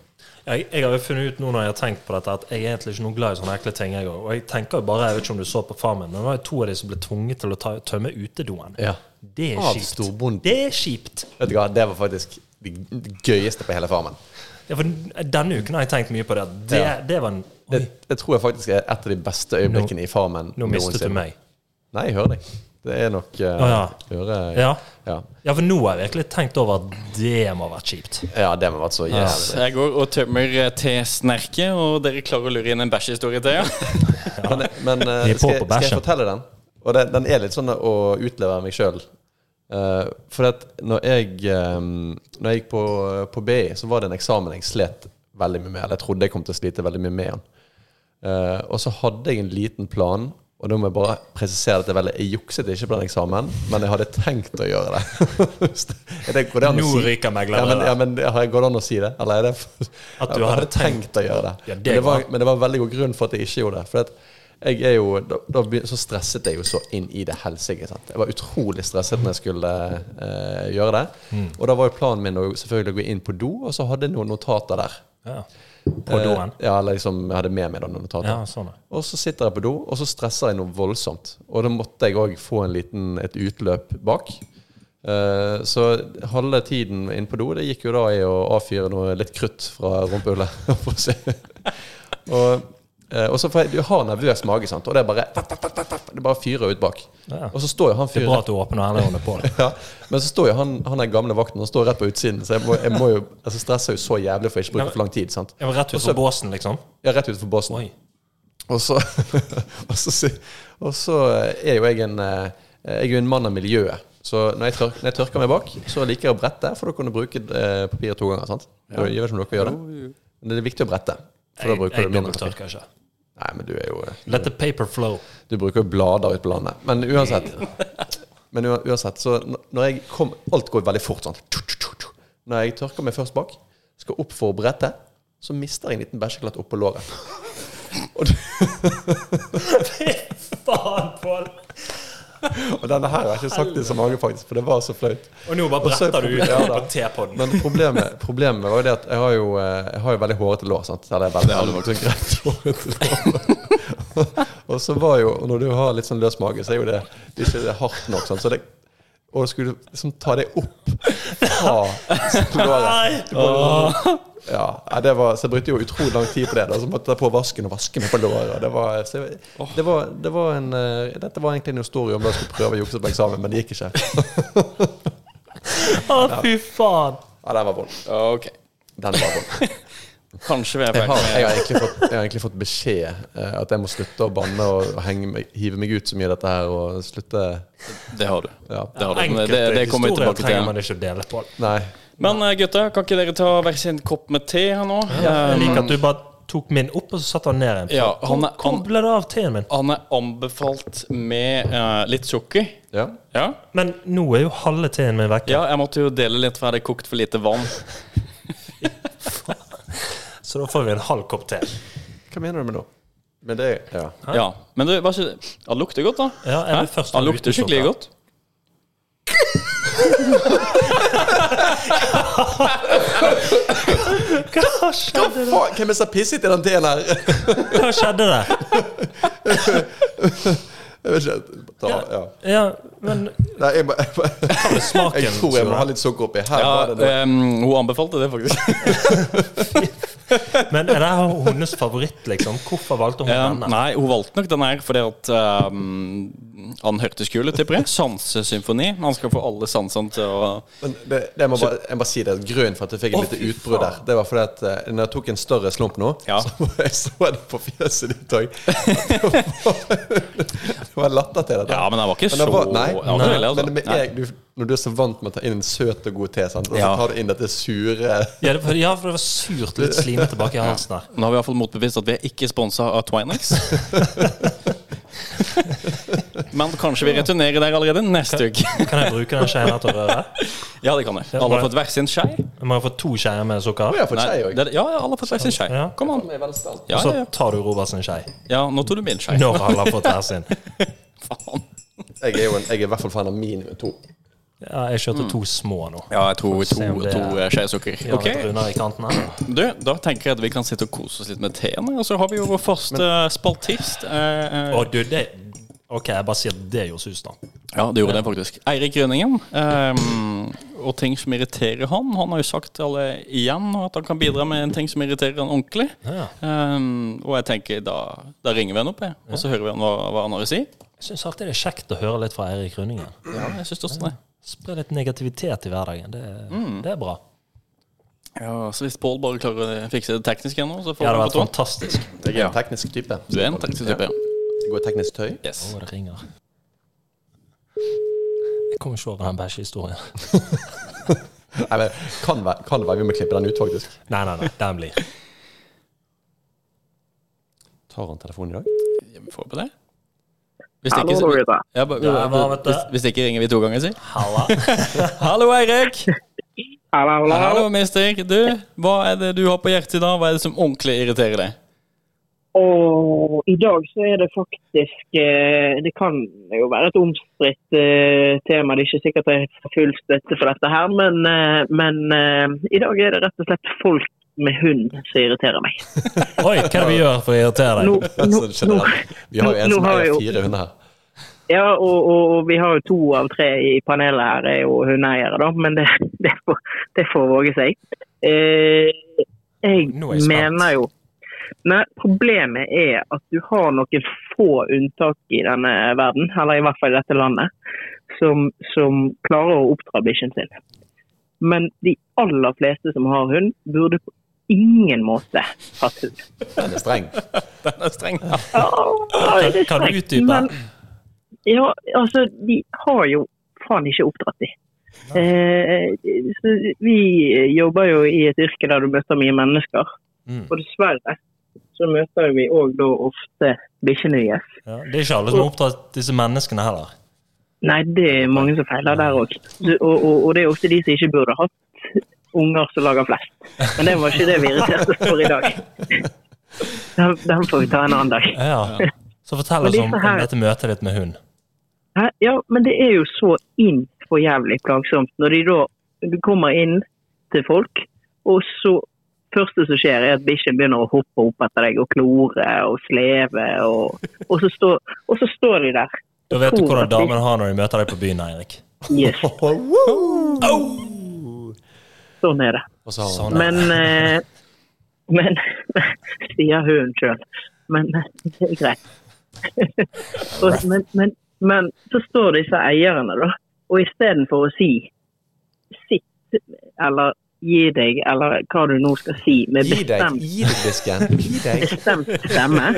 C: Jeg, jeg har jo funnet ut nå når jeg har tenkt på dette, at jeg er egentlig ikke noe glad i sånne ekle ting. Jeg, også. og jeg tenker jo bare, jeg vet ikke om du så på Farmen, men det var jo to av de som ble tvunget til å ta, tømme utedoen.
B: Ja.
C: Det er
B: Av
C: kjipt.
B: storbonden.
C: Det er kjipt.
B: Vet du hva, det var faktisk det gøyeste på hele farmen.
C: Ja, for denne uken har jeg tenkt mye på det. at Det,
B: Ja.
C: det var en
B: Det,
C: Oi,
B: det tror jeg faktisk er et av de beste øyeblikkene i farmen
C: nå mistet du
B: noensinne.
C: meg.
B: Nei, jeg hører deg. Det er nok eh,
C: ja.
B: hører jeg.
C: Ja.
B: Ja.
C: ja, for nå har jeg virkelig tenkt over at det må ha vært kjipt.
B: Ja, det må ha vært så jævlig.
A: Jeg går og tømmer eh, tesnerket, og dere klarer å lure inn en bæsjhistorie til? ja?
B: (laughs) Men, men eh,
C: Vi er på
B: skal, jeg-
C: på
B: skal jeg
C: bæsjen.
B: fortelle den? Og den, den er litt sånn å utlevere meg sjøl. for at når jeg, eh, når jeg gikk på, på BI, så var det en eksamen jeg slet veldig mye med. Eller jeg trodde jeg kom til å slite veldig mye med den. Eh, og så hadde jeg en liten plan, og da må jeg bare presisere at jeg, veldig, jeg jukset ikke på den eksamen, men jeg hadde tenkt å gjøre det. (laughs) Er det går det an å
C: Nå
B: si?
C: ryker megleren,
B: Ja, men,
C: da.
B: ja, men har jeg- går det an å si det? Eller er det
C: At du
B: Jeg
C: hadde tenkt-
B: å gjøre det.
C: Ja, det
B: men, det
C: går
B: var,
C: an.
B: men det var veldig god grunn for at jeg ikke gjorde det. For at jeg er jo, da, da begyn- så stresset jeg jo så inn i det helsike. sant? Jeg var utrolig stresset når jeg skulle eh, gjøre det.
C: Mm.
B: Og da var jo planen min å selvfølgelig gå inn på do, og så hadde jeg noen notater der.
C: Ja. På doen.
B: Eh, ja, eller liksom jeg hadde med meg da noen notater.
C: Ja, sånn. ja.
B: Og så sitter jeg på do, og så stresser jeg noe voldsomt. Og da måtte jeg òg få en liten, et utløp bak. Eh, så halve tiden inne på do, det gikk jo da i å avfyre noe litt krutt fra rumpehullet. (laughs) for å si. og, eh, og så for jeg, du har nervøs mage, sant? og det er bare Det bare fyrer ut bak.
C: Ja.
B: Og så står jo han
C: Det er
B: fyren
C: bra at du åpner hendene på det.
B: (laughs) ja, Men så står jo han, han er gamle vakten Han står rett på utsiden, så jeg, må, jeg må jo altså stresser jo så jævlig for jeg ikke bruker for lang tid. sant?
C: Jeg var rett ut fra båsen, liksom.
B: Jeg er rett utenfor båsen.
C: Oi.
B: Og så, (laughs) og, så, si- og så er jo jeg en eh, Jeg er jo en mann av miljøet. Så når jeg, tør, når jeg tørker meg bak, så liker jeg å brette, for da kan du bruke eh, papiret to ganger. sant? Jeg vet ikke om dere gjør det. Men det er viktig å brette. For da
C: Jeg,
B: bruker
C: jeg
B: du mindre papir.
C: dobbelttørker ikke.
B: Nei, men du er jo
C: Let the paper flow.
B: Du bruker jo blader ute på landet. Men uansett Men ua- uansett, så n- når jeg kom Alt går veldig fort sånn. Når jeg tørker meg først bak, skal opp for å brette, så mister jeg en liten bæsjeklatt oppå låret.
C: Fy (laughs) faen, Pål!
B: Og denne her har jeg ikke sagt til så mange, faktisk, for det var så flaut.
C: Og nå bare
B: Og så er
C: bretter du ut
B: problemet-
C: på
B: ja da.
C: T-poden.
B: Men problemet, problemet var jo det at jeg har jo, eh, jeg har jo veldig hårete lår. sant? Eller veldig, det hadde vært greit hårete lår. og så var jo, og når du har litt sånn løs mage, så er jo det, det er ikke det hardt nok. sant? Så det, og skulle liksom ta det opp fra låret
C: Nei!
B: ja, nei, det var, Så jeg brukte jo utrolig lang tid på det. Da, så måtte jeg på vasken og vaske meg på låret. og Det var, så jeg, det var, det var en, eh, dette var egentlig en historie om da jeg skulle prøve å jukse på eksamen, men det gikk ikke.
C: Å, fy faen!
B: Ja, den var vond.
A: Ok.
B: Den var vond.
A: Kanskje vi er på
B: Jeg har,
A: eksamen.
B: jeg, har egentlig fått, jeg har egentlig fått beskjed eh, at jeg må slutte å banne og, og henge meg, hive meg ut så mye i dette her og slutte
A: Det har du.
B: Ja.
A: Det, har du. Men det,
C: Enkelte
A: det, det kommer vi
C: historier
A: tilbake
C: trenger
A: til.
C: man ikke å dele, Pål.
B: Nei.
A: Men eh, gutta, kan ikke dere ta hver sin kopp med te her nå?
C: Jeg
A: Eh,
C: liker at du bare tok min opp, og så satte han ned igjen.
A: Ja, han er-
C: Hvor
A: han-
C: ble det av teen min?
A: Han er anbefalt med eh, litt sukker.
B: Ja.
A: Ja.
C: Men nå er jo halve teen min vekke.
A: ja, jeg måtte jo dele litt, for jeg hadde kokt for lite vann.
C: Så da får vi en halv kopp te.
B: Hva mener du med nå? Men det Ja.
A: Ja, Men du, var ikke Han lukter godt, da.
C: Ja, jeg
A: Hæ?
C: vil først ha
A: han lukter
C: uten
A: skikkelig
C: sukker.
A: godt.
C: Hva skjedde,
B: Faen, hvem er så pisset i den teen her? (laughs)
C: Hva skjedde der?
B: Jeg vet ikke. Ta, ja.
C: Ja, men
B: Nei, jeg, må- jeg, må-
C: smaken
B: jeg tror jeg må
C: Sura.
B: ha litt sukker oppi. Her
A: Ja,
B: var det noe.
A: ehm, hun anbefalte det, faktisk.
C: Men er det her hennes favoritt, liksom? Hvorfor valgte hun
A: Ja,
C: denne?
A: nei, hun valgte nok den her fordi at ehm, han hørtes kul ut, tipper jeg. Sansesymfoni. Han skal få alle sansene til å
B: Men det, det jeg må bare, jeg må bare si det grunnen for at jeg fikk et
C: Å,
B: lite
C: fy
B: utbrudd der,
C: faen.
B: det var fordi at eh, når jeg tok en større slump nå,
A: Ja.
B: så var jeg så det på fjeset ditt òg. Det var latter til dette.
A: Ja, men han var ikke
B: Men det
A: så
B: var- nei.
A: han var ikke veldig, altså.
B: Men med
A: Nei.
B: en- du, når du er så vant med å ta inn en søt og god te, sant? og så
A: Ja.
B: tar du inn dette sure
C: Ja, det, ja, for det var surt, litt slimete bak i halsen der.
A: Nå har vi iallfall motbevist at vi er ikke sponsa av
B: (laughs)
A: Twinex. Men kanskje vi returnerer der allerede neste uke.
C: Kan jeg bruke den skjeen her til å røre?
A: (laughs) Ja, det kan jeg. Alle har fått hver sin skei.
C: Jeg må ha fått to skjeer med sukker.
B: Å, jeg har fått
A: Nei,
B: skei òg.
A: det- Ja, ja, alle har fått hver sin skei.
C: Ja.
A: Kom an.
B: Velstand.
A: Ja,
C: Så
A: ja, ja.
C: tar du Roberts skje.
A: ja, nå tok du min skei.
C: Når
A: (laughs)
C: alle har fått hver sin.
A: Faen.
B: Jeg er jo en, jeg er i hvert fall fan av minimum to.
C: Ja, jeg kjørte to små nå.
A: Ja, jeg tror to,
C: se om det er-
A: to eh, skjeer sukker.
C: Ja,
A: Ok,
C: litt rundere i kanten her.
A: du, da tenker jeg at vi kan sitte og kose oss litt med teen. Og så har vi jo vår faste spaltist. eh, eh,
C: Å, du, det OK, jeg bare sier at det gjorde sus, da.
A: Ja, det gjorde det faktisk. Eirik Rønningen. ehm, og ting som irriterer han. Han har jo sagt til alle igjen at han kan bidra med en ting som irriterer han ordentlig.
C: Ja.
A: Ehm, og jeg tenker da, da ringer vi han opp, jeg. og så hører vi han hva, hva han har å si.
C: Jeg syns alltid det er kjekt å høre litt fra Eirik Rønningen.
A: Ja, jeg synes også det.
C: Spre litt negativitet i hverdagen. Det, det er bra.
A: Ja, Så hvis Pål bare klarer å fikse det tekniske nå, så får
C: Det hadde
A: han
C: vært
A: på tå.
C: fantastisk.
B: Jeg er en teknisk type.
A: Du er en teknisk type, ja.
B: Jeg går i teknisk tøy.
A: Yes.
C: Å, det ringer. Jeg kommer ikke over den bæsjehistorien.
B: Nei, men kan være, kan være vi må klippe den ut, faktisk.
C: Nei, nei, nei. Den blir.
B: Tar han telefonen i dag?
A: Ja, vi får på det. Hvis
D: Hallo, da,
A: ikke,
D: gutter.
A: ja, bare-
C: Der var det.
A: hvis, hvis ikke ringer vi to ganger, si.
C: Halla.
A: Hallo, Eirik!
D: Hallo, hallo, hallo.
A: Hallo, mister. Du, hva er det du har på hjertet i dag? Hva er det som ordentlig irriterer deg?
D: Og i dag så er det faktisk eh, Det kan jo være et omstridt eh, tema. Det er ikke sikkert jeg får full støtte for dette her, men, eh, men eh, i dag er det rett og slett folk med hund som irriterer meg.
C: Oi, hva er det vi gjør for å irritere
D: Nå,
C: deg?
B: (laughs)
D: nå,
B: Sånn
D: nå,
B: generelt. Vi har jo en
D: nå
B: som
D: har
B: eier
D: jeg jo-
B: fire hunder her.
D: ja, og, og, og vi har jo to av tre i panelet her er jo hundeeiere, da, men det, (laughs) det, får, det får våge seg. Eh, jeg
C: Nå er jeg spent.
D: mener jo Nei, Problemet er at du har noen få unntak i denne verden, eller i hvert fall i dette landet, som, som klarer å oppdra bikkjen sin. Men de aller fleste som har hund, burde på ingen måte hatt hund.
B: Den er
D: (laughs)
B: streng.
A: Den er streng.
D: Ja, det er
C: Kan du
D: strekt,
C: utdype?
D: men- Ja, altså, de har jo faen ikke oppdratt de. Eh, så vi jobber jo i et yrke der du møter mye mennesker.
C: Mm.
D: Og dessverre så møter vi òg da ofte bikkjene deres.
C: Ja, det er ikke alle som har opptatt disse menneskene heller.
D: Nei, det er mange som feiler der òg. Og, og, og det er ofte de som ikke burde hatt unger som lager flest. Men det var ikke det vi irriterte oss for i dag. Den, den får vi ta en annen dag. (laughs)
C: Ja. Så fortell
D: Men
C: oss
D: disse
C: om, om
D: her-
C: dette møtet ditt med hund.
D: Hæ? Ja, men det er jo så inn for jævlig plagsomt når de da du kommer inn til folk, og så første som skjer er at bikkjen begynner å hoppe opp etter deg og klore og sleve, og, og, så, stå, og så står de der.
C: Da vet du hvordan damene har når de møter deg på byen, Eirik.
D: Yes, sånn er det.
B: Og så har
C: Sånn. Nei.
B: han
D: Men, eh, men (laughs) sier hun sjøl. Men eh, det er greit. (laughs) og, men, men, men så står disse eierne, da. Og istedenfor å si sitt eller gi deg, eller hva du nå skal si, med
B: Gi deg,
D: bestemt,
B: gi deg disken. Gi deg.
D: bestemt
B: (laughs)
D: stemme,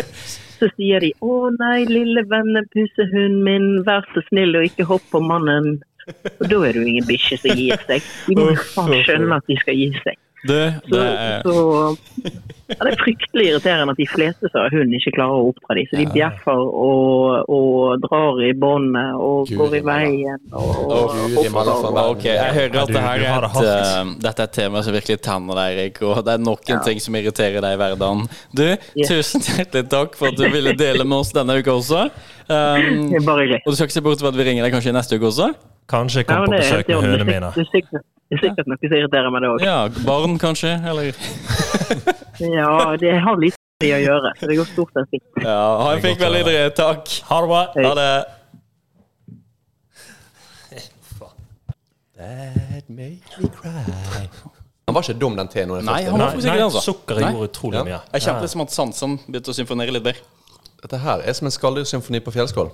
D: så sier de 'Å nei, lille vennepusehunden min, vær så snill og ikke hopp på mannen'. Og da er du ingen bikkje som gir seg. De må jo faen skjønne at de skal gi seg.
A: Du, det er
D: Så, ja, det er fryktelig irriterende at de fleste som har hund, ikke klarer å oppdra dem. Så de bjeffer og, og drar i båndet og
B: Guri
D: går i
B: malla.
D: veien. Og, og,
B: Guri malla for meg.
A: Ok, jeg hører at
C: du-
A: det her
C: du har
A: er
C: det
A: et,
C: hardt.
A: eh, dette er et tema som virkelig tenner deg, Erik. Og det er nok en ting som irriterer deg i hverdagen. Du,
D: Yes.
A: tusen hjertelig takk for at du ville dele med oss denne uka også. Um,
D: det er bare greit.
A: og du skal ikke se bort fra at vi ringer deg kanskje neste uke også?
C: Kanskje
D: Ja,
C: kom på
D: men det, er helt
C: besøk
D: i
C: med
D: orden.
C: hundene
D: det,
C: mine.
D: er sikkert, det er sikkert noe som irriterer meg, det òg.
A: Ja, barn kanskje? Eller
D: Ja, det har lite med det å gjøre. Så det går stort sett fint.
A: Ja, ha en flink veldig idrett. Takk.
C: Ha det bra.
A: Ha det.
B: That made me cry. Han var ikke dum, den teen. når jeg
A: Nei,
B: først-
A: han var
C: Nei,
A: forsiktig,
C: nei
A: altså.
C: sukkeret
A: Nei.
C: gjorde utrolig mye.
A: Jeg kjente det som at sansene begynte å symfonere litt bedre.
B: Dette her er som en skaldyrsymfoni på fjellskål.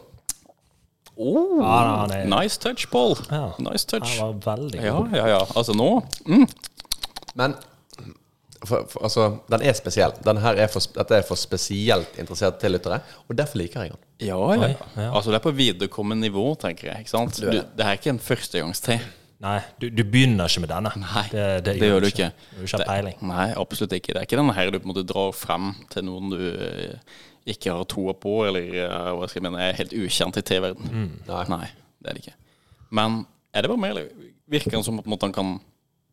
A: Oh,
C: Ja, han er-
A: nice touch, Pål.
C: Ja.
A: Nice
C: Han
A: touch.
C: var veldig
A: Ja,
C: god.
A: ja, ja. Altså nå mm.
B: Men for, for, altså, den er spesiell. Den her er for, dette er for spesielt interesserte tillyttere, og derfor liker jeg den.
A: Ja, ja.
C: Oi, ja.
A: Altså det er på viderekommende nivå, tenker jeg. Ikke sant? Du, det her er ikke en førstegangste.
C: Nei, du, du begynner ikke med denne.
A: Nei,
C: det, det
A: gjør du ikke.
C: ikke. Du har ikke hatt peiling.
A: Nei, absolutt ikke. Det er ikke den her du på en måte drar frem til noen du eh, ikke har troa på, eller eh, hva skal jeg mene, er helt ukjent i TV-verden.
C: Mm.
A: Nei. det er det ikke. Men er det bare meg, eller virker han som på en måte han kan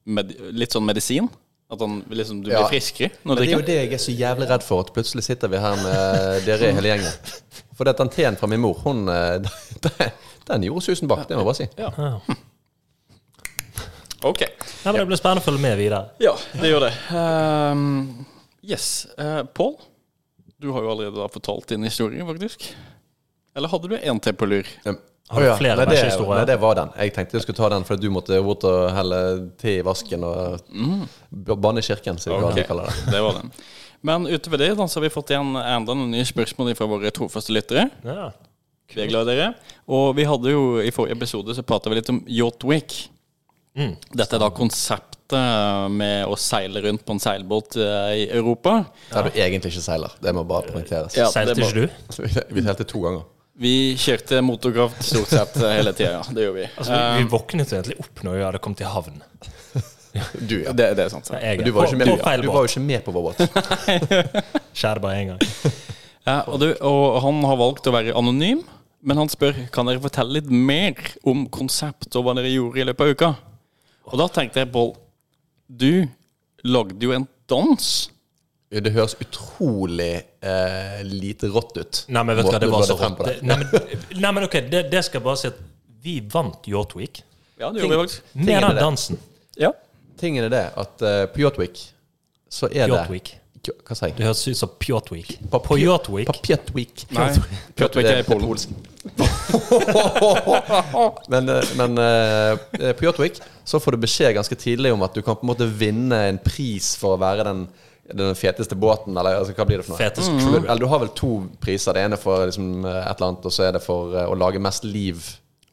A: med, Litt sånn medisin? At han liksom, du blir
B: Ja.
A: friskere når
B: Men
A: du
B: det
A: drikker?
B: er jo det jeg er så jævlig redd for, at plutselig sitter vi her med eh, dere i hele gjengen. For den teen fra min mor, hun eh, (laughs) den, den gjorde susen bak, det må jeg bare si.
A: Ok.
C: Nei, men det blir spennende å følge med videre.
A: Ja, det gjør det. Ehm, yes. Uh, Pål, du har jo allerede da fortalt din historie, faktisk. Eller hadde du en til på lur?
B: Um,
C: Har du
B: å ja,
C: flere
B: nei, det-
C: bæsjehistorier?
B: Nei, det var den. Jeg tenkte jeg skulle ta den fordi du måtte bort og helle te i vasken og
C: Mm.
B: b- banne i kirken, som
A: Ok,
B: de kaller det.
A: det var den. Men utover det da, så har vi fått igjen enda noen nye spørsmål fra våre trofaste lyttere.
C: Ja.
A: Vi er glad i dere. Og vi hadde jo i forrige episode så prata vi litt om Yacht Week.
C: Mm.
A: Dette er da konseptet med å seile rundt på en seilbåt eh, i Europa.
B: Der du egentlig ikke seiler. Det må bare poengteres.
A: Ja,
C: Seilte
A: det er bra.
C: ikke du?
B: (laughs) Vi teilte to ganger.
A: Vi kjørte motorkraft stort sett eh, hele tida, ja. Det gjorde vi.
C: Altså, vi, vi våknet jo egentlig opp når vi hadde kommet i havn.
B: Du, ja.
A: Det, det er sant. sant.
C: Jeg,
B: Men du var jo ikke med,
C: på, på feil
B: du var
C: båt.
B: jo ikke med på vår båt.
C: Skjer det bare én gang.
A: Ja, og, du, og han har valgt å være anonym, men han spør kan dere fortelle litt mer om konsept og hva dere gjorde i løpet av uka. Og da tenkte jeg, Pål, du lagde jo en dans.
B: Det høres utrolig eh, lite rått ut.
C: Nei, men vet du hva,
B: Måten
C: det var
B: la
C: så
B: frem
C: rått.
B: på
C: Det- Nei, men, nei, men ok, det, det skal jeg bare si at vi vant Yacht Week
A: Ja, det gjorde vi faktisk.
C: med
B: er
C: den
B: det.
C: dansen.
A: Ja.
B: Tingen er det at eh, på Yachtwick så er
C: Yacht
B: det
C: Week.
B: K- Hva sier
C: Det
B: jeg?
C: høres ut som Pjot Week.
B: På
C: På Yacht Week.
B: På Pjotwick. (laughs)
A: Nei, Piotr er i Polen.
B: Men, eh, men eh, på Yachtwick så får du beskjed ganske tidlig om at du kan på en måte vinne en pris for å være den, den feteste båten, eller altså, hva blir det for noe?
C: Fetest
A: Mhm.
B: Du,
C: crew.
B: eller du har vel to priser. Det ene for liksom, eh, et eller annet, og så er det for eh, å lage mest liv.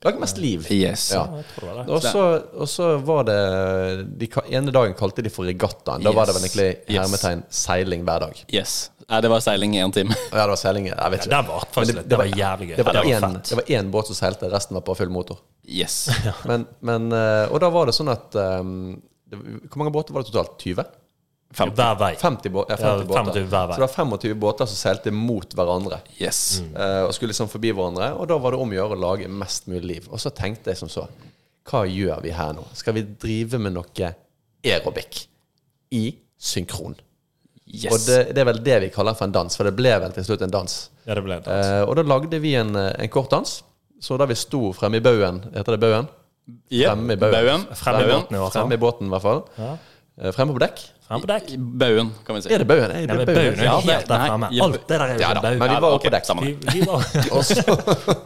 B: Lage mest liv.
A: Yes.
B: Ja.
C: Jeg tror det var det.
B: Og så, og så var det De ka- ene dagen kalte de for regattaen. Da var det vel
A: Yes.
B: egentlig
A: Yes.
B: hermetegn seiling hver dag.
A: yes. Nei, det var seiling i én time.
B: Ja, det var seiling Jeg vet ikke.
C: Den var faktisk litt, det var jævlig gøy.
B: det var,
C: Ja, det var
B: en,
C: fett.
B: det var én båt som seilte, resten var på full motor.
A: Yes.
B: Men, men, eh, og da var det sånn at ehm, det, Hvor mange båter var det totalt? 20?
C: Hver vei.
B: 50, bå ja, 50
C: Ja,
B: båter.
C: 50 hver vei.
B: Så det var 25 båter som seilte mot hverandre.
A: Yes.
B: eh, og skulle liksom forbi hverandre. Og da var det om å gjøre å lage mest mulig liv. Og så tenkte jeg som så Hva gjør vi her nå? Skal vi drive med noe aerobic i synkron?
A: Yes.
B: Og det, det er vel det vi kaller for en dans, for det ble vel til slutt en dans.
C: Ja, det ble en dans.
B: Eh, og da lagde vi en, eh, en kort dans. Så da vi sto fremme i baugen, heter det baugen?
A: Yep.
B: fremme i baugen.
C: Frem i
A: Baugen.
C: båten i hvert fall.
B: Fremme i båten, i hvert fall.
C: Ja.
B: Eh, fremme på dekk.
C: Frem på dekk.
A: Baugen, kan vi si.
B: Er det baugen?
C: Nei,
B: Er det
C: men
B: baugen?
C: baugen er jo
A: Ja, det-
C: helt der
A: nei,
C: fremme.
A: ja.
C: Alt det der er jo
B: Ja
C: en
B: da, men
C: baug.
B: vi var
A: ok,
B: oppe på dekk.
A: samme
C: Vi,
A: det.
C: vi var
B: Og så,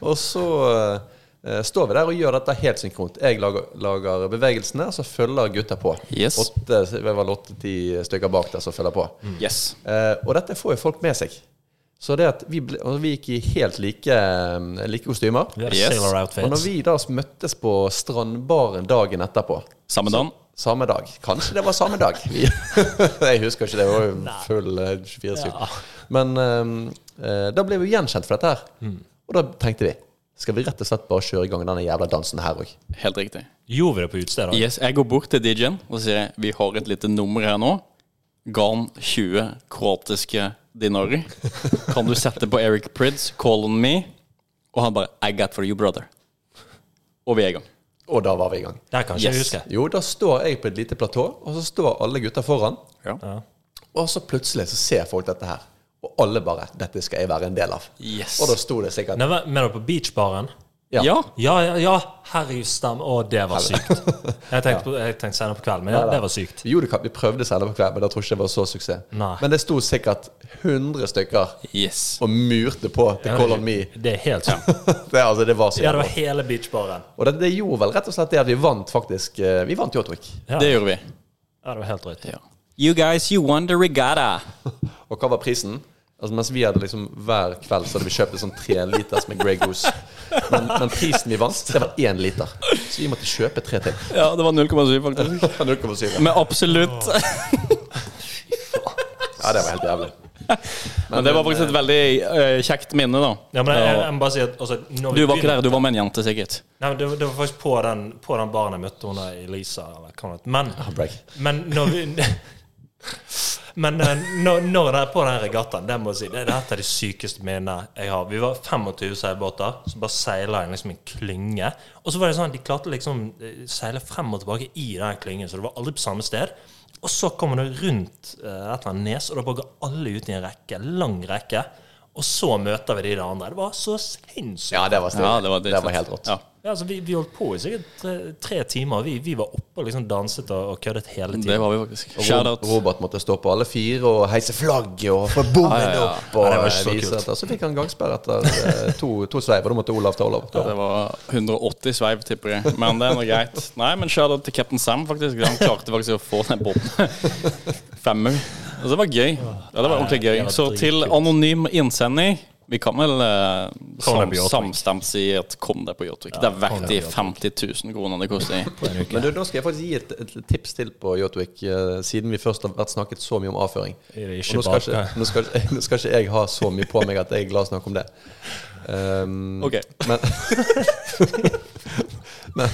B: og så eh, står vi der og gjør dette helt synkront. Jeg lager, lager bevegelsene, og så følger gutta på.
A: Yes. Mm.
B: Åtte, det var åtte-ti stykker bak der som følger på.
A: Yes.
B: Eh, og dette får jo folk med seg. Så det at vi, ble, og vi gikk i helt like, eh, like kostymer.
C: Vi hadde
A: Yes.
C: sailor
B: Og når
C: outfits.
B: vi da møttes på strandbaren dagen etterpå
A: Samme dagen.
B: samme dag. Kanskje det var samme
A: (laughs)
B: dag. Vi- Jeg husker ikke, det var jo full eh, 24-7. Men eh, eh, da ble vi gjenkjent for dette her.
A: Mm.
B: Og da tenkte vi skal vi rett og slett bare kjøre i gang denne jævla dansen her òg.
A: Helt riktig.
C: Gjorde vi det på utestedet? også?
A: Yes, Jeg går bort til DJ-en og sier jeg, vi har et lite nummer her nå. Ga han 20 kroatiske dinarer. Kan du sette på Eric Prids, 'Call on Me'? Og han bare 'I got for you, brother'. Og vi er i gang.
B: Og da var vi i gang.
C: Der kan ikke jeg
A: Yes.
C: huske.
B: Jo, da står jeg på et lite platå, og så står alle gutta foran. Og så plutselig så ser folk dette her. Og alle bare 'Dette skal jeg være en del av'.
A: Yes.
B: Og da sto det sikkert
C: Nei, hva- Mener du på beachbaren?
A: Ja.
C: Ja, ja, ja. Herregud, stem. Å, det var sykt. Jeg tenkte, på, jeg tenkte senere på kvelden, men ja, det var sykt.
B: Jo, det kan, vi prøvde selve kvelden, men jeg tror ikke det var så suksess.
C: Nei.
B: Men det sto sikkert 100 stykker
A: Yes.
B: og murte på til Call on Me.
C: Det er helt sykt.
B: Det, altså, det var så
C: Ja, det
B: jævla.
C: var hele beachbaren.
B: Og det, det gjorde vel rett og slett det at vi vant faktisk eh, Vi vant Yachtwick.
C: Ja.
A: Det gjorde vi.
C: Ja, det var helt drøyt.
A: You guys, you won the regatta.
B: Og hva var prisen? Altså Mens vi hadde liksom hver kveld Så hadde vi kjøpt en sånn tre liters med Grey Goose. Men, men prisen vi vant, det var én liter. Så vi måtte kjøpe tre til. (laughs)
A: Ja, det var 0,7 faktisk.
B: 0,7.
A: Men absolutt.
B: Ja, det var helt jævlig.
A: Men det var faktisk et veldig eh, kjekt minne, da.
C: Ja, men jeg, jeg, jeg må bare si at altså, når vi
A: Du var ikke
C: begynner-
A: der, du var med en jente, sikkert.
C: Nei, men det, var- det var faktisk på den, på den baren jeg møtte hun der, Elisa. Eller hva hun het. Men,
B: break.
C: men når vi (laughs) Men eh, når, når det er på den regattaen Det må jeg si, det, det er et av de sykeste minnene jeg har. Vi var 25 seilbåter som bare seila i liksom en klynge. Og så var det sånn at de klarte liksom eh, seile frem og tilbake i den klyngen, så det var aldri på samme sted. Og så kommer det rundt eh, et eller annet nes, og da bare går alle ut i en rekke. Lang rekke. Og så møter vi de der andre. Det var så sinnssykt.
B: Ja, det var stilig.
A: Ja, det var,
B: det var helt rått.
A: Ja,
C: Ja, altså, vi, vi holdt på i sikkert tre, tre timer. Vi, vi var oppe og liksom danset og, og køddet hele tiden.
A: det var vi faktisk.
B: Og Ro-
A: Shoutout.
B: Robert måtte stå på alle fire og heise flagget og få bommen
A: Ja, ja, ja.
B: opp. Og
C: Ja, det var så
B: vise
C: kult.
B: etter. Så fikk han gangsperre etter eh, to, to sveiver. Da måtte Olav ta Olav.
A: Det var 180 sveiv, tipper jeg. Men det er nå greit. Nei, men shoutout til Captain Sam, faktisk. Han klarte faktisk å få den båten. (laughs) Femmer. Altså, det var gøy. Ja, det var ordentlig gøy. Så til anonym innsender Vi kan vel eh,
C: Kom deg
A: sam,
C: på Yachtwick.
A: samstemt si at kom deg på Yachtwick. Det er verdt de 50 000 kronene det koster.
B: Men du, nå skal jeg faktisk gi et, et tips til på Jotwick, eh, siden vi først har vært snakket så mye om avføring.
C: Er det ikke
B: Og nå skal
C: bak-
B: ikke, nå skal, ikke- (laughs) nå skal ikke jeg ha så mye på meg at jeg er glad i å snakke om det. Um,
A: Ok.
B: Men, (laughs) men,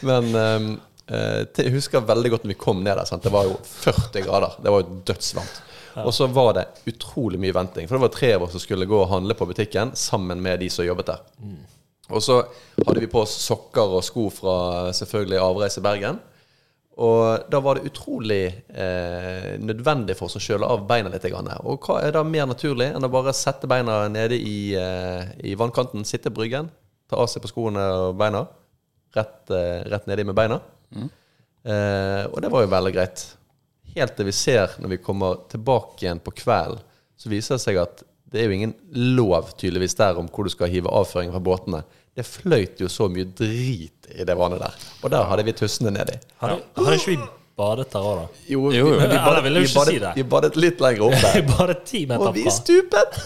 B: men um, eh, til- jeg husker veldig godt når vi kom ned der. Sant? Det var jo 40 grader. Det var jo dødsvarmt. Og så var det utrolig mye venting. For det var tre av oss som skulle gå og handle på butikken sammen med de som jobbet der. Og så hadde vi på oss sokker og sko fra selvfølgelig Avreise Bergen. Og da var det utrolig eh, nødvendig for oss å kjøle av beina litt. Grann. Og hva er da mer naturlig enn å bare sette beina nede i, eh, i vannkanten, sitte i bryggen, ta av seg på skoene og beina, rett, eh, rett nedi med beina. Eh, og det var jo veldig greit. Helt til vi ser, når vi kommer tilbake igjen på kvelden, så viser det seg at det er jo ingen lov tydeligvis der om hvor du skal hive avføring fra båtene. Det fløyt jo så mye drit i det vannet der. Og der hadde vi tussene nedi.
C: Hadde, hadde ikke vi badet der òg, da?
B: Jo,
A: Jo, jo.
B: Vi, vi,
C: Ja, da
B: badet,
C: vil jeg
B: vi,
C: jo ikke si
B: badet,
C: det.
B: vi badet litt lenger opp
C: (laughs) Vi
B: der.
C: badet ti
B: Og
C: meter
B: vi
C: fra.
B: stupet!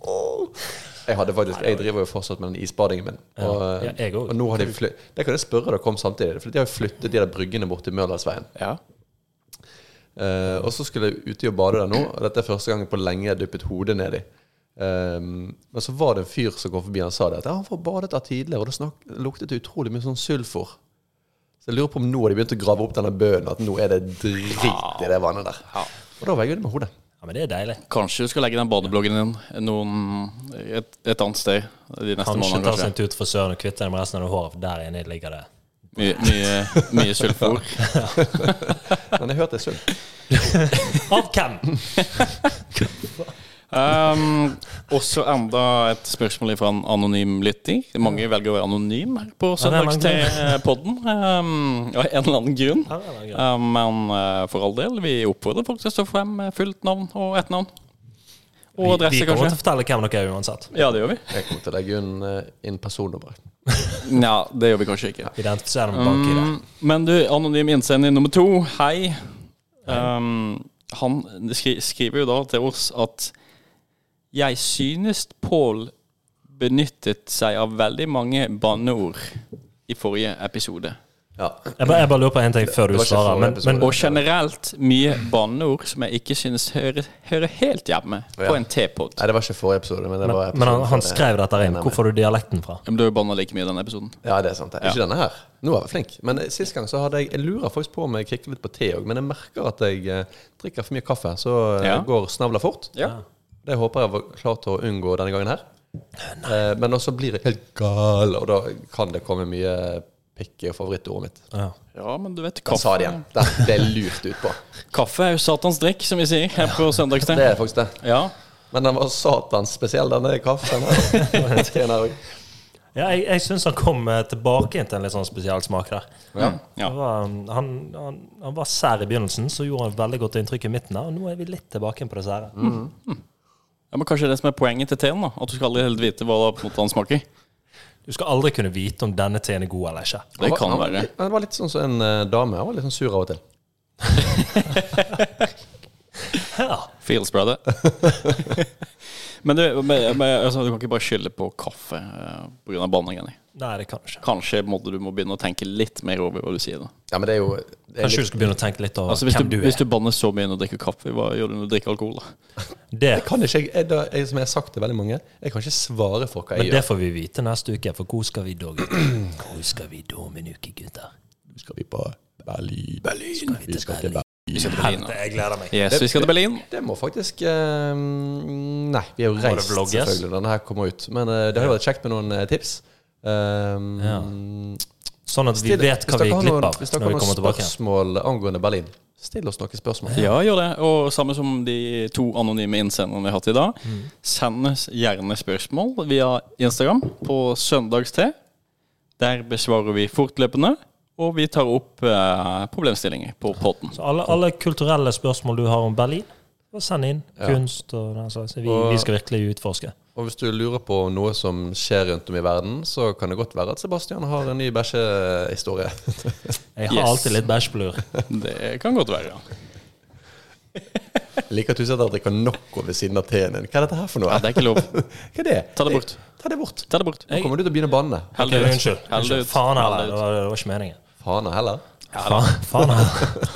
B: Åh. Jeg hadde faktisk, jeg driver jo fortsatt med den isbadingen min. Og, eh,
C: Ja, jeg også.
B: og nå har de flytt, Det kan jeg spørre dere om samtidig. For de har jo flyttet de der bryggene bort til Mørdalsveien.
A: Ja.
B: Eh, og så skulle jeg uti og bade der nå, og dette er første gangen på lenge jeg dyppet hodet nedi. Um, men så var det en fyr som kom forbi og sa det at ja, han var badet der tidligere, og det snak, luktet det utrolig mye sånn sulfor. Så jeg lurer på om nå har de begynt å grave opp denne bønnen, at nå er det drit i det vannet der. Og da var jeg ute med hodet.
C: Ja, men det er deilig.
A: Kanskje du skal legge den badebloggen din noen, et, et annet sted de neste
C: Kanskje
A: månedene.
C: ta seg
A: kanskje.
C: en tur til frisøren og kvitte deg med resten av det håret, for der inne ligger det
A: Mye, mye, mye sulfur.
B: Men jeg hørte det er sunt.
C: Av
B: (laughs)
C: hvem?
A: Um, også enda et spørsmål fra en anonym lytter. Mange velger å være anonym her på
C: Ja, det er mange.
A: søndagspodden. Um, av en eller annen grunn.
C: Ja, det er greit.
A: Um, men uh, for all del, vi oppfordrer folk til å stå frem med fullt navn og ett navn.
C: Vi,
A: Og adresse,
C: vi kommer til
A: kanskje.
C: å fortelle hvem dere er uansett.
A: Ja, det gjør vi.
B: Jeg kommer til å legge inn, eh, inn personnummer.
A: Nja, det gjør vi kanskje ikke.
C: Identifiser dem bak i det.
A: Mm, Men du, anonym innsender nummer to, hei. Um, han skri skriver jo da til oss at Jeg synes Pål benyttet seg av veldig mange banneord i forrige episode.
B: Ja.
C: Jeg bare, jeg bare lurer på en ting før
B: Det
C: du
B: var ikke
C: svarer.
B: forrige
C: Men,
B: episode.
C: men
A: Og generelt mye banneord som jeg ikke synes hører, hører helt hjemme på
B: Ja.
A: en T-pod.
B: Nei, det var ikke forrige episode, men det
C: Men,
B: var episoden
C: men han, han
B: før det.
C: skrev dette inn. Hvor får du dialekten fra?
A: Men Du har jo banna like mye i denne episoden.
B: Ja, det er sant. det. Ikke denne her. Nå var jeg flink. Men eh, sist gang så hadde jeg Jeg lurer faktisk på om jeg kikker litt på te òg, men jeg merker at jeg eh, drikker for mye kaffe, så eh,
A: Ja.
B: går snavla fort. Det håper jeg var klar til å unngå denne gangen her. Eh, Men også blir jeg helt gal, og da kan det komme mye pikk i favorittordet mitt.
C: Ja.
A: Ja, men du vet,
B: Jeg sa
A: kaffe,
B: det igjen. Det ble jeg lurt ut på.
A: kaffe er jo satans drikk, som vi sier her på
B: Det
A: søndagssted.
B: er faktisk det.
A: Ja.
B: Men den var satans spesiell, denne kaffen.
A: (laughs)
B: her. Teen her også.
C: Ja, jeg, jeg syns han kom eh, tilbake inn til en litt sånn spesiell smak der.
A: Mm, Ja.
C: Det var, um, han, han, han var sær i begynnelsen, så gjorde han veldig godt inntrykk i midten. der, Og nå er vi litt tilbake inn på det sære.
B: Mm.
A: Ja, men Kanskje det som er poenget til teen, da at du skal aldri helt vite hva det på en måte han smaker.
C: Du skal aldri kunne vite om denne teen er god eller ikke.
A: Det
B: Han var-
A: kan
B: han var
A: være.
B: litt- Han var litt sånn som en eh, dame. Han var litt sånn sur av og til.
C: Ja.
A: Feels (laughs) brother. men du, men, men, altså, du kan ikke bare skylde på kaffe eh, på grunn av banningen.
C: Nei, det kan du ikke.
A: Kanskje måtte du må begynne å tenke litt mer over hva du sier. da
B: Ja, men det er jo det er
C: Kanskje
B: litt,
C: du skal begynne å tenke litt over
A: Altså Hvis,
C: hvem
A: du,
C: du,
A: hvis
C: er.
A: du banner så mye når du drikker kaffe, hva gjør du når du drikker alkohol? da?
C: det,
B: Jeg kan ikke jeg, jeg, da- jeg, Som jeg har sagt til veldig mange, jeg kan ikke svare for hva jeg
C: men det
B: gjør.
C: får vi vite neste uke, for hvor skal vi da, gutter? Hvor skal vi da om en uke, gutter?
B: Nå skal vi på Berlin. Berlin. Vi skal til Berlin.
C: Helvete, jeg gleder meg.
A: Yes, vi skal til Berlin.
B: Det må faktisk eh, Nei, vi er jo
C: det
B: reist,
C: vlogges?
B: selvfølgelig. Denne her kommer ut. Men eh, det har jo vært kjekt med noen eh, tips. Um,
C: Sånn at vi
B: still-
C: vet hva
B: hvis
C: vi
B: dere har
C: er glipp
B: noen-
C: av
B: Hvis dere
C: når
B: har
C: vi kommer
B: noen
C: tilbake.
B: spørsmål angående Berlin, still oss noen spørsmål.
A: Ja, gjør det. Og samme som de to anonyme innsenderne vi har hatt i dag, send oss gjerne spørsmål via Instagram på søndagste. Der besvarer vi fortløpende, og vi tar opp eh, problemstillinger på podden.
C: Så alle, alle kulturelle spørsmål du har om Berlin, så send inn. Kunst og den slags. Vi, vi skal virkelig utforske.
B: Og hvis du lurer på noe som skjer rundt om i verden, så kan det godt være at Sebastian har en ny bæsjehistorie. (laughs)
C: Jeg har
A: Yes.
C: alltid litt bæsjblur.
A: Det kan godt være. ja.
B: Jeg liker at du sier at jeg drikker Nocco ved siden av teen din. Hva er dette her for noe?
A: Nei, det er ikke lov.
B: (laughs) Hva er det?
A: Ta det bort.
B: Ta det bort.
A: Ta det bort.
B: Nå kommer du til å begynne å banne.
A: Hell
C: Ok,
A: det ut.
C: unnskyld.
A: Hell det ut.
C: unnskyld. Faen
A: Hell
C: heller.
A: det ut.
C: Det var, det var ikke meningen.
B: Fana heller.
C: Faen, faen heller.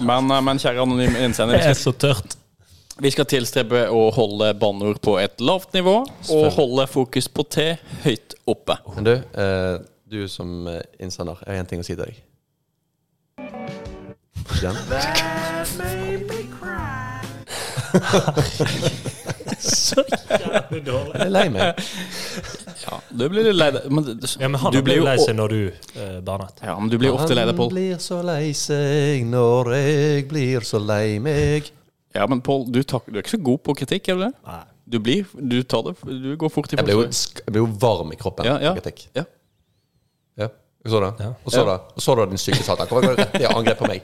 A: Men, eh, men kjære anonyme innsender,
C: Det
A: vi
C: er
A: skal,
C: så tørt.
A: vi skal tilstrebe å holde banneord på et lavt nivå, og holde fokus på T høyt oppe.
B: Men du, eh, du som eh, innsender, jeg har en ting å si til deg. Den?
A: (laughs)
C: Så jævlig dårlig.
B: Jeg er lei meg.
A: Ja, du blir litt lei deg. Men, det-
C: Ja, men han
A: du
C: ble
A: blir
C: jo
A: jo
C: lei
A: o-
C: seg når du eh, bannet.
A: Ja, men du blir ofte lei deg,
B: Han
A: Pål.
B: blir så lei seg når jeg blir så lei meg.
A: Ja, men Pål, du, tak- du er ikke så god på kritikk, er du det?
C: Nei.
A: Du blir Du tar det Du går fort i
B: Jeg ble jo,
A: forsvar.
B: sk- jeg ble jo varm i kroppen.
A: Ja, ja.
B: Kritikk.
A: Ja.
B: Ja. Og så da?
C: Ja.
B: Og så da? Og så da din syke satan? Hvorfor går du rett i angrep på meg?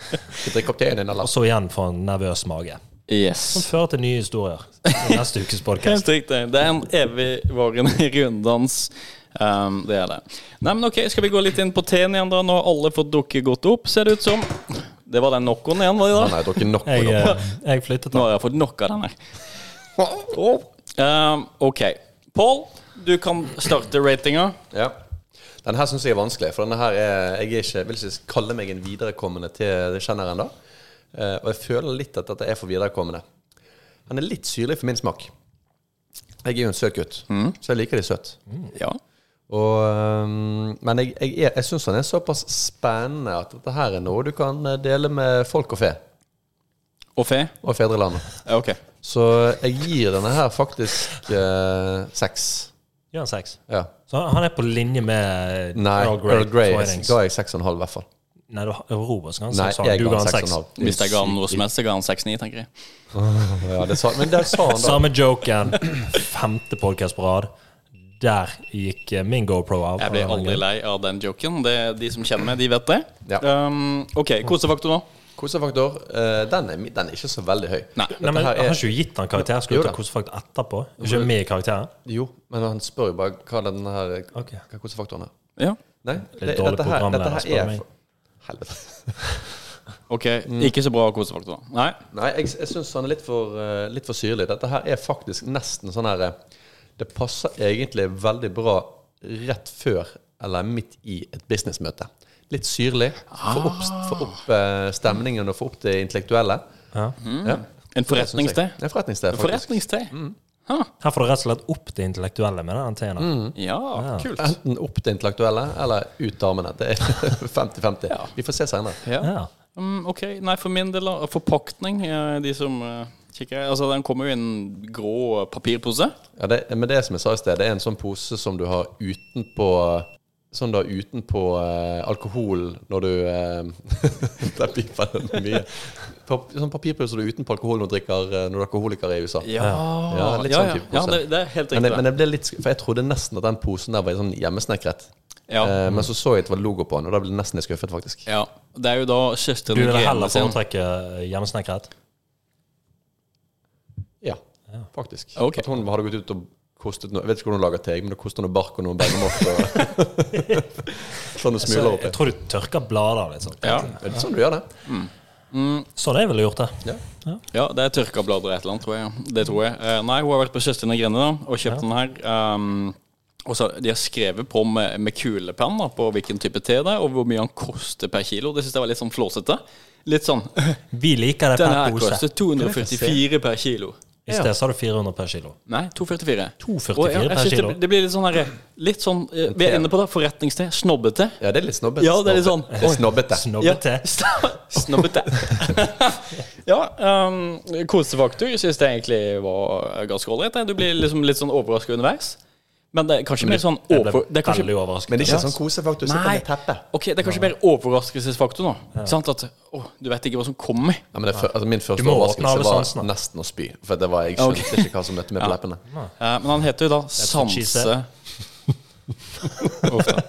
B: Skal jeg drikke opp teen din,
C: Og
B: eller?
C: så igjen for en nervøs mage. Som
A: Yes.
C: fører til nye historier i neste ukes
A: (laughs)
C: podkast.
A: Helt riktig. Det er en evigvarende (laughs) runddans. Ehm, det er det. Nei, men ok, Skal vi gå litt inn på T-en igjen, da? Nå har alle fått dukke godt opp, ser det ut som. Det var den knockoen igjen, var det da?
B: Han har drukket nok.
C: Jeg,
B: nå.
C: eh, jeg flyttet
A: Nå
C: den.
A: har jeg fått nok av den her.
B: eh,
A: Ehm, ok. Pål, du kan starte ratinga.
B: Ja. Denne her syns jeg er vanskelig, for denne her er, jeg er ikke, vil ikke kalle meg en viderekommende til kjenneren. da. Eh, og jeg føler litt at dette er for viderekommende. Han er litt syrlig for min smak. Jeg er jo en søt gutt,
A: Mm.
B: så jeg liker de søt.
A: Ja.
B: Og, øhm, men jeg, jeg, er- jeg syns han er såpass spennende at dette her er noe du kan eh, dele med folk og fe.
A: Og fe?
B: Og fedrelandet.
A: Ja, ok.
B: Så jeg gir denne her faktisk eh, seks.
C: Gjør en seks.
B: Ja.
C: Så han- han er på linje med eh,
B: Nei,
C: Earl Grey. Twinings.
B: ga jeg seks og en halv, i hvert fall.
C: Nei, det var Robert som ga en
B: Nei,
C: seks. han.
B: jeg
C: Du
B: ga
C: ga
B: han
C: en
B: seks og en halv.
C: seks.
A: Hvis jeg ga han noe som helst, så ga han 6-9, tenker jeg.
B: Ja, det sa, men det sa
C: (laughs)
B: han da.
C: Samme joken. Femte podkast på rad. Der gikk eh, min GoPro av.
A: Jeg blir aldri lei av den joken. Det, de som kjenner meg, de vet det.
B: Ja.
A: Um, ok, kosefaktor nå.
B: Kosefaktor, eh, den, er, mi- den er ikke så veldig høy.
A: Nei.
C: Nei, men,
B: her er-
C: har ikke du gitt han karakter? Skal
B: Jo
C: du ta
B: da.
C: kosefakt etterpå? Er Ikke med i karakteren?
B: Jo, men han spør jo bare hva den her
C: Ok.
B: Hva kosefaktoren er.
A: Ja.
B: Nei,
C: er et dårlig program der,
B: dette
C: spør
B: her
C: meg.
B: er Helvete.
A: Ok,
B: Mm.
A: ikke så bra kosefaktor. Nei.
B: Nei, jeg, jeg syns han er litt for, eh, litt for syrlig. Dette her er faktisk nesten sånn her eh, Det passer egentlig veldig bra rett før eller midt i et businessmøte. Litt syrlig. Få opp, få opp eh, stemningen og få opp det intellektuelle. Mm.
C: Ja.
B: Ja,
A: En
B: det syns jeg.
A: forretningste.
B: Ja, forretningssted,
A: En
B: faktisk. Mm.
A: forretningste.
C: Her får du rett og slett opp det intellektuelle med den antena.
A: Ja,
B: Ah.
A: kult.
B: Enten opp det intellektuelle eller ut damene. Det er (laughs) 50-50. Vi får se senere.
A: Ja.
C: Ja.
A: Mm, ok, nei, for min del, da, forpakning, eh, de som eh, kikker Altså, den kommer jo i en grå papirpose.
B: Ja, det, men det som jeg sa i sted, det er en sånn pose som du har utenpå Sånn da utenpå eh, alkohol når du eh, (laughs) Der piper det mye. Pap, sånn papirpose du har utenpå alkohol når du, drikker, eh, når du er alkoholiker i USA.
A: Ja, ja,
B: Ja, litt
A: ja,
B: sånn
A: ja.
B: type pose.
A: det, det er helt
B: Men, det,
A: riktig.
B: men
A: det.
B: det ble litt, sk- for jeg trodde nesten at den posen der var sånn hjemmesnekret.
A: Ja.
B: Eh, men så så jeg at det var logo på den, og da ble jeg nesten litt skuffet, faktisk.
A: ja. Det er jo da søsteren
C: Du ville
A: Irene
C: heller
A: sin.
C: foretrekke eh, hjemmesnekret?
B: Ja, faktisk.
A: Ok.
B: At hun hadde gått ut og kostet noe Jeg vet ikke hvordan hun lager te, men det koster noe bark og noen bergamott
A: (laughs)
B: og (laughs) sånn du
C: Så
B: smuler
C: jeg
B: oppi.
C: tror du tørker blader litt sånn.
A: Ja.
B: Er det sånn du gjør det?
C: Så det jeg ville gjort det.
A: Ja, det er tørka blader og et eller annet, tror jeg. Det tror jeg. Eh, nei, hun har vært på Kjerstine Grene da, og kjøpt den her. ehm, og så De har skrevet på med, med kulepenn da, på hvilken type te det er, og hvor mye han koster per kilo. Det syns jeg var litt sånn flåsete. Litt sånn (laughs)
C: Vi liker det
A: Den
C: per
A: her
C: pose.
A: koster 244 per kilo.
C: I sted så har du 400 per kilo.
A: Nei, 244.
C: 2,44
A: Og jeg- jeg
C: per
A: synes
C: kilo.
A: Det, det blir litt sånn her, litt sånn eh, Vi er inne på det. Forretningste. Snobbete.
B: Ja, det er litt snobbete.
A: Ja, det er litt sånn.
B: Det er snobbete.
C: Snobbete.
A: Ja,
C: (laughs)
A: snobbete. (laughs) ja, um, kosefaktor syns jeg egentlig var ganske ålreit. Du blir liksom litt sånn overraska underveis. Men det er kanskje mer sånn
C: Jeg ble
A: over... Det er kanskje,
C: veldig overrasket.
B: Men det er ikke sånn kosefaktor. Sitter
A: Nei.
B: med teppe.
A: ok, det er kanskje mer overraskelsesfaktor nå. Sant? At å, du vet ikke hva som kommer.
B: Ja, men det, fø- altså, min første
C: Du må åpne
B: overraskelse
C: alle
B: var
C: sansene.
B: nesten å spy. For det var, jeg
A: Ok.
B: skjønte ikke hva som møtte meg på
A: (laughs)
B: leppene.
A: Eh, men han heter jo da
C: what she
A: Sanse...
C: said. (laughs)
A: Uff da.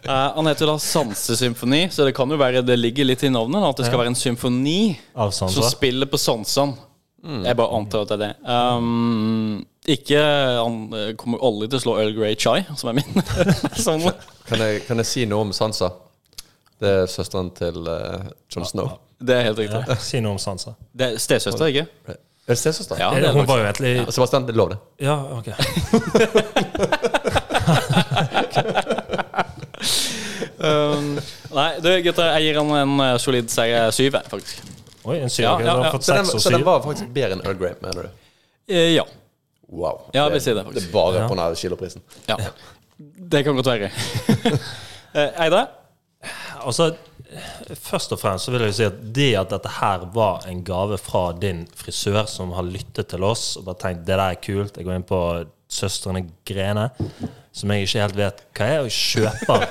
A: Eh, han heter jo da Sansesymfoni, så det kan jo være det ligger litt i navnet. Da, at det skal være en symfoni
C: Av
A: som
C: sanser.
A: spiller på sansene. Jeg bare antar at det er det. Um, ikke Han eh, kommer aldri til å slå Earl Grey Chai, som er min. (laughs) sånn.
B: Kan jeg, kan jeg si noe om Sansa? Det er søsteren til eh, Jon Snow.
A: Det er helt riktig.
C: Ja, si noe om sanser.
A: Det er stesøster, ikke?
B: Er det stesøster?
A: Ja, det er
C: Hun
A: det.
C: var jo egentlig
B: Sebastian, det er lov, det.
C: Ja, OK.
A: Um, nei, du gutter, jeg gir han en eh, solid seier syv, jeg, faktisk.
C: Oi, en syv.
A: Ja,
C: ok,
A: ja,
C: Du
A: ja.
C: har fått
B: Så den,
C: seks og
B: så den
C: syv.
B: var faktisk bedre enn Earl Grey, mener du?
A: Eh, ja.
B: Wow.
A: Ja, jeg vil si det, faktisk.
B: Det er bare på denne kiloprisen.
A: ja. Det kan godt (laughs) være. Eh, Eide?
C: Altså, først og fremst så vil jeg jo si at det at dette her var en gave fra din frisør som har lyttet til oss og bare tenkt det der er kult, jeg går inn på Søstrene Grene, som jeg ikke helt vet hva er, og jeg kjøper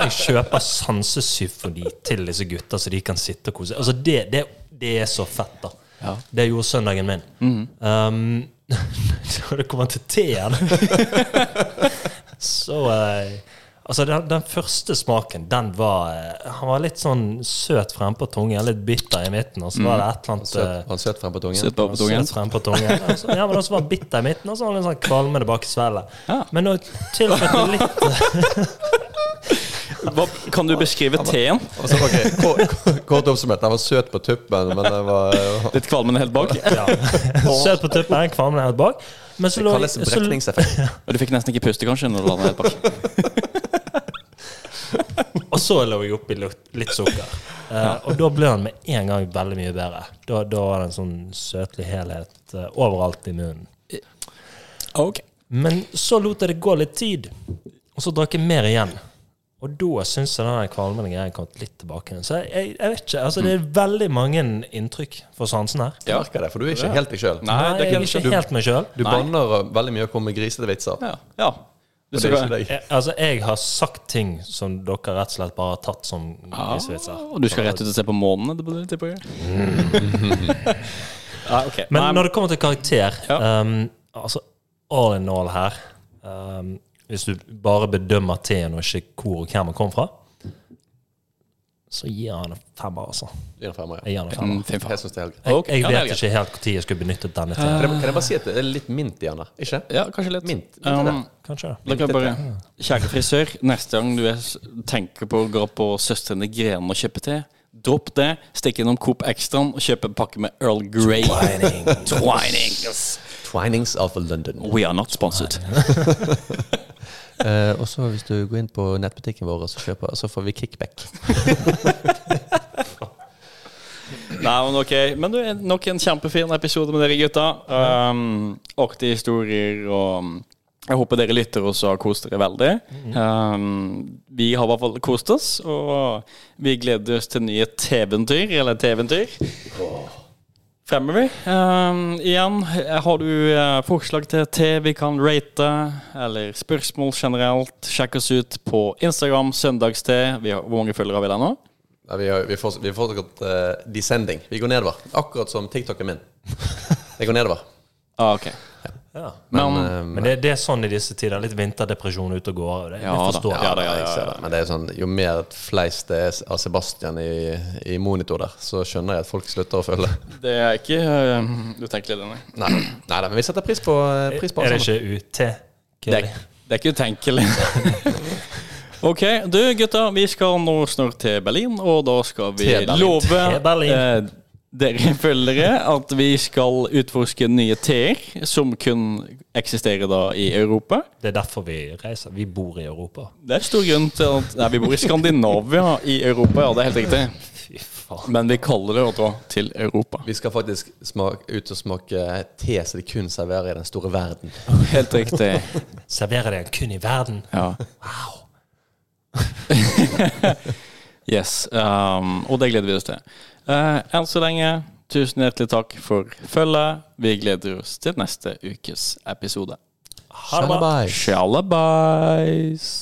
C: jeg kjøper sansesymfoni til disse gutta, så de kan sitte og kose seg. Altså, det, det, det er så fett, da. Det gjorde søndagen min.
B: Mhm.
C: Um, (laughs) når det kommer til teen så eh, Altså, den, den første smaken, den var eh, Han var litt sånn søt frempå tungen, litt bitter i midten, og så var det et eller annet eh,
B: Mhm. Søt, han søt frem på tungen.
A: Sitt på på tungen.
C: Søt frem på tungen. Og så- Ja, men også var han bitter i midten, og så var han litt sånn kvalmende bak i svelget.
A: Ja.
C: Men nå tilførte du litt eh,
B: (laughs)
A: Hva, kan du beskrive teen?
B: Og så, Altså, ok, ko- Kort oppsummert, han var søt på tuppen, men det var
A: Litt kvalmende helt bak.
C: ja. Søt på tuppen, kvalmende helt bak. Men så
B: Det
C: lå
B: kalles
C: så-
B: brekningseffekt.
A: Og du fikk nesten ikke puste, kanskje? når du landet helt bak.
C: Og så lå jeg oppi lukt- litt sukker. Eh, og da ble han med en gang veldig mye bedre. Da, da var det en sånn søtlig helhet eh, overalt i munnen.
A: (laughs) Ok.
C: Men så lot jeg det gå litt tid, og så drakk jeg mer igjen. Og da syns jeg den der kvalmende greia kom litt tilbake. igjen. Så jeg, jeg, jeg vet ikke. Altså, det er veldig mange inntrykk for sansen her.
B: Jeg merker det, for du er ikke helt deg sjøl.
A: Nei, det
C: Nei, jeg er
A: kan
C: ikke helt meg sjøl.
B: Du banner veldig mye og kommer med grisetevitser.
A: Ja. ja. Du
B: Og det er
A: skal,
B: ikke deg.
C: Altså, jeg har sagt ting som dere rett og slett bare har tatt som grisevitser.
A: og du skal rett ut og se på månen etterpå? det
B: (laughs)
A: tipper jeg. Nei, ok.
C: Men
A: Nei,
C: når det kommer til karakter
A: Ja.
C: um, Altså all in all her um, Hvis du bare bedømmer T-en og ikke hvor og hvem han kom fra, så gir han en femmer, altså.
B: Du gir en femmer,
C: Jeg gir han en
A: men-
C: femmer.
A: fy Mm, faen.
B: Jeg synes det er helt greit.
A: Ok,
C: Jeg
A: ja, det er
C: vet
A: greit.
C: ikke helt når jeg skulle benyttet denne T-en.
B: Kan jeg, kan jeg bare si at det er litt mint i den der? Ikke?
A: Ja, kanskje litt.
B: Mint. Mint er det.
A: Um,
C: Kanskje det.
A: da kan jeg bare, kjære frisør, neste gang du er, tenker på å gå på Søstrene Grene og kjøpe te, dropp det. Stikk innom Coop Extraen og kjøp en pakke med Earl Grey. Twining.
B: Twinings of London.
A: We are not sponsored.
B: Eh, og så hvis du går inn på nettbutikken vår og så kjøper, så får vi kickback.
A: Nei, men ok. Men du, en- nok en kjempefin episode med dere gutta. Um, Artige historier og jeg håper dere lytter også har kost dere veldig. Um, vi har i hvert fall kost oss, og vi gleder oss til nye teventyr, eller teventyr. Fremover. Um, igjen, har du eh, forslag til te vi kan rate, eller spørsmål generelt, sjekk oss ut på Instagram, søndagste. Vi har, hvor mange følgere har vi der nå?
B: Nei, vi, har, vi, får, vi får fortsatt eh, descending. Vi går nedover. Akkurat som TikToken min. Jeg går nedover.
A: Ah, ok.
C: (laughs) Ja.
A: Men,
B: Men, eh,
C: Men det, det er sånn i disse tider. Litt vinterdepresjon ute og går. og Det,
A: Ja
C: jeg
A: da,
C: forstår
A: ja da,
B: (laughs) ja, jeg ser det. Men det er sånn, jo mer fleis det er av Sebastian i, i monitor der, så skjønner jeg at folk slutter å følge.
A: Det er ikke øh, utenkelig, det, nei.
B: Nei, nei, nei men vi setter pris på, eh, pris på
C: Er det
B: alt sammen.
C: ikke UT?
A: Det er, det er ikke utenkelig. Ok, du gutta, vi skal nå snart til Berlin, og da skal vi
B: Til Berlin.
A: love
C: Til Berlin.
A: eh, dere følgere at vi skal utforske nye teer som kun eksisterer da i Europa.
C: Det er derfor vi reiser. Vi bor i Europa.
A: Det er stor grunn til at Nei, vi bor i Skandinavia i Europa, ja, det er helt riktig.
C: Fy faen.
A: Men vi kaller det å dra til Europa.
B: Vi skal faktisk smake, ut og smake te som de kun serverer i den store verden.
A: Helt riktig.
C: Serverer det kun i verden.
A: Ja.
C: Wow.
A: (laughs) Yes. Um, og det gleder vi oss til. Eh, enn så lenge, tusen hjertelig takk for følget. Vi gleder oss til neste ukes episode.
C: Ha det bra.
B: Shalabais.
A: Shalabais.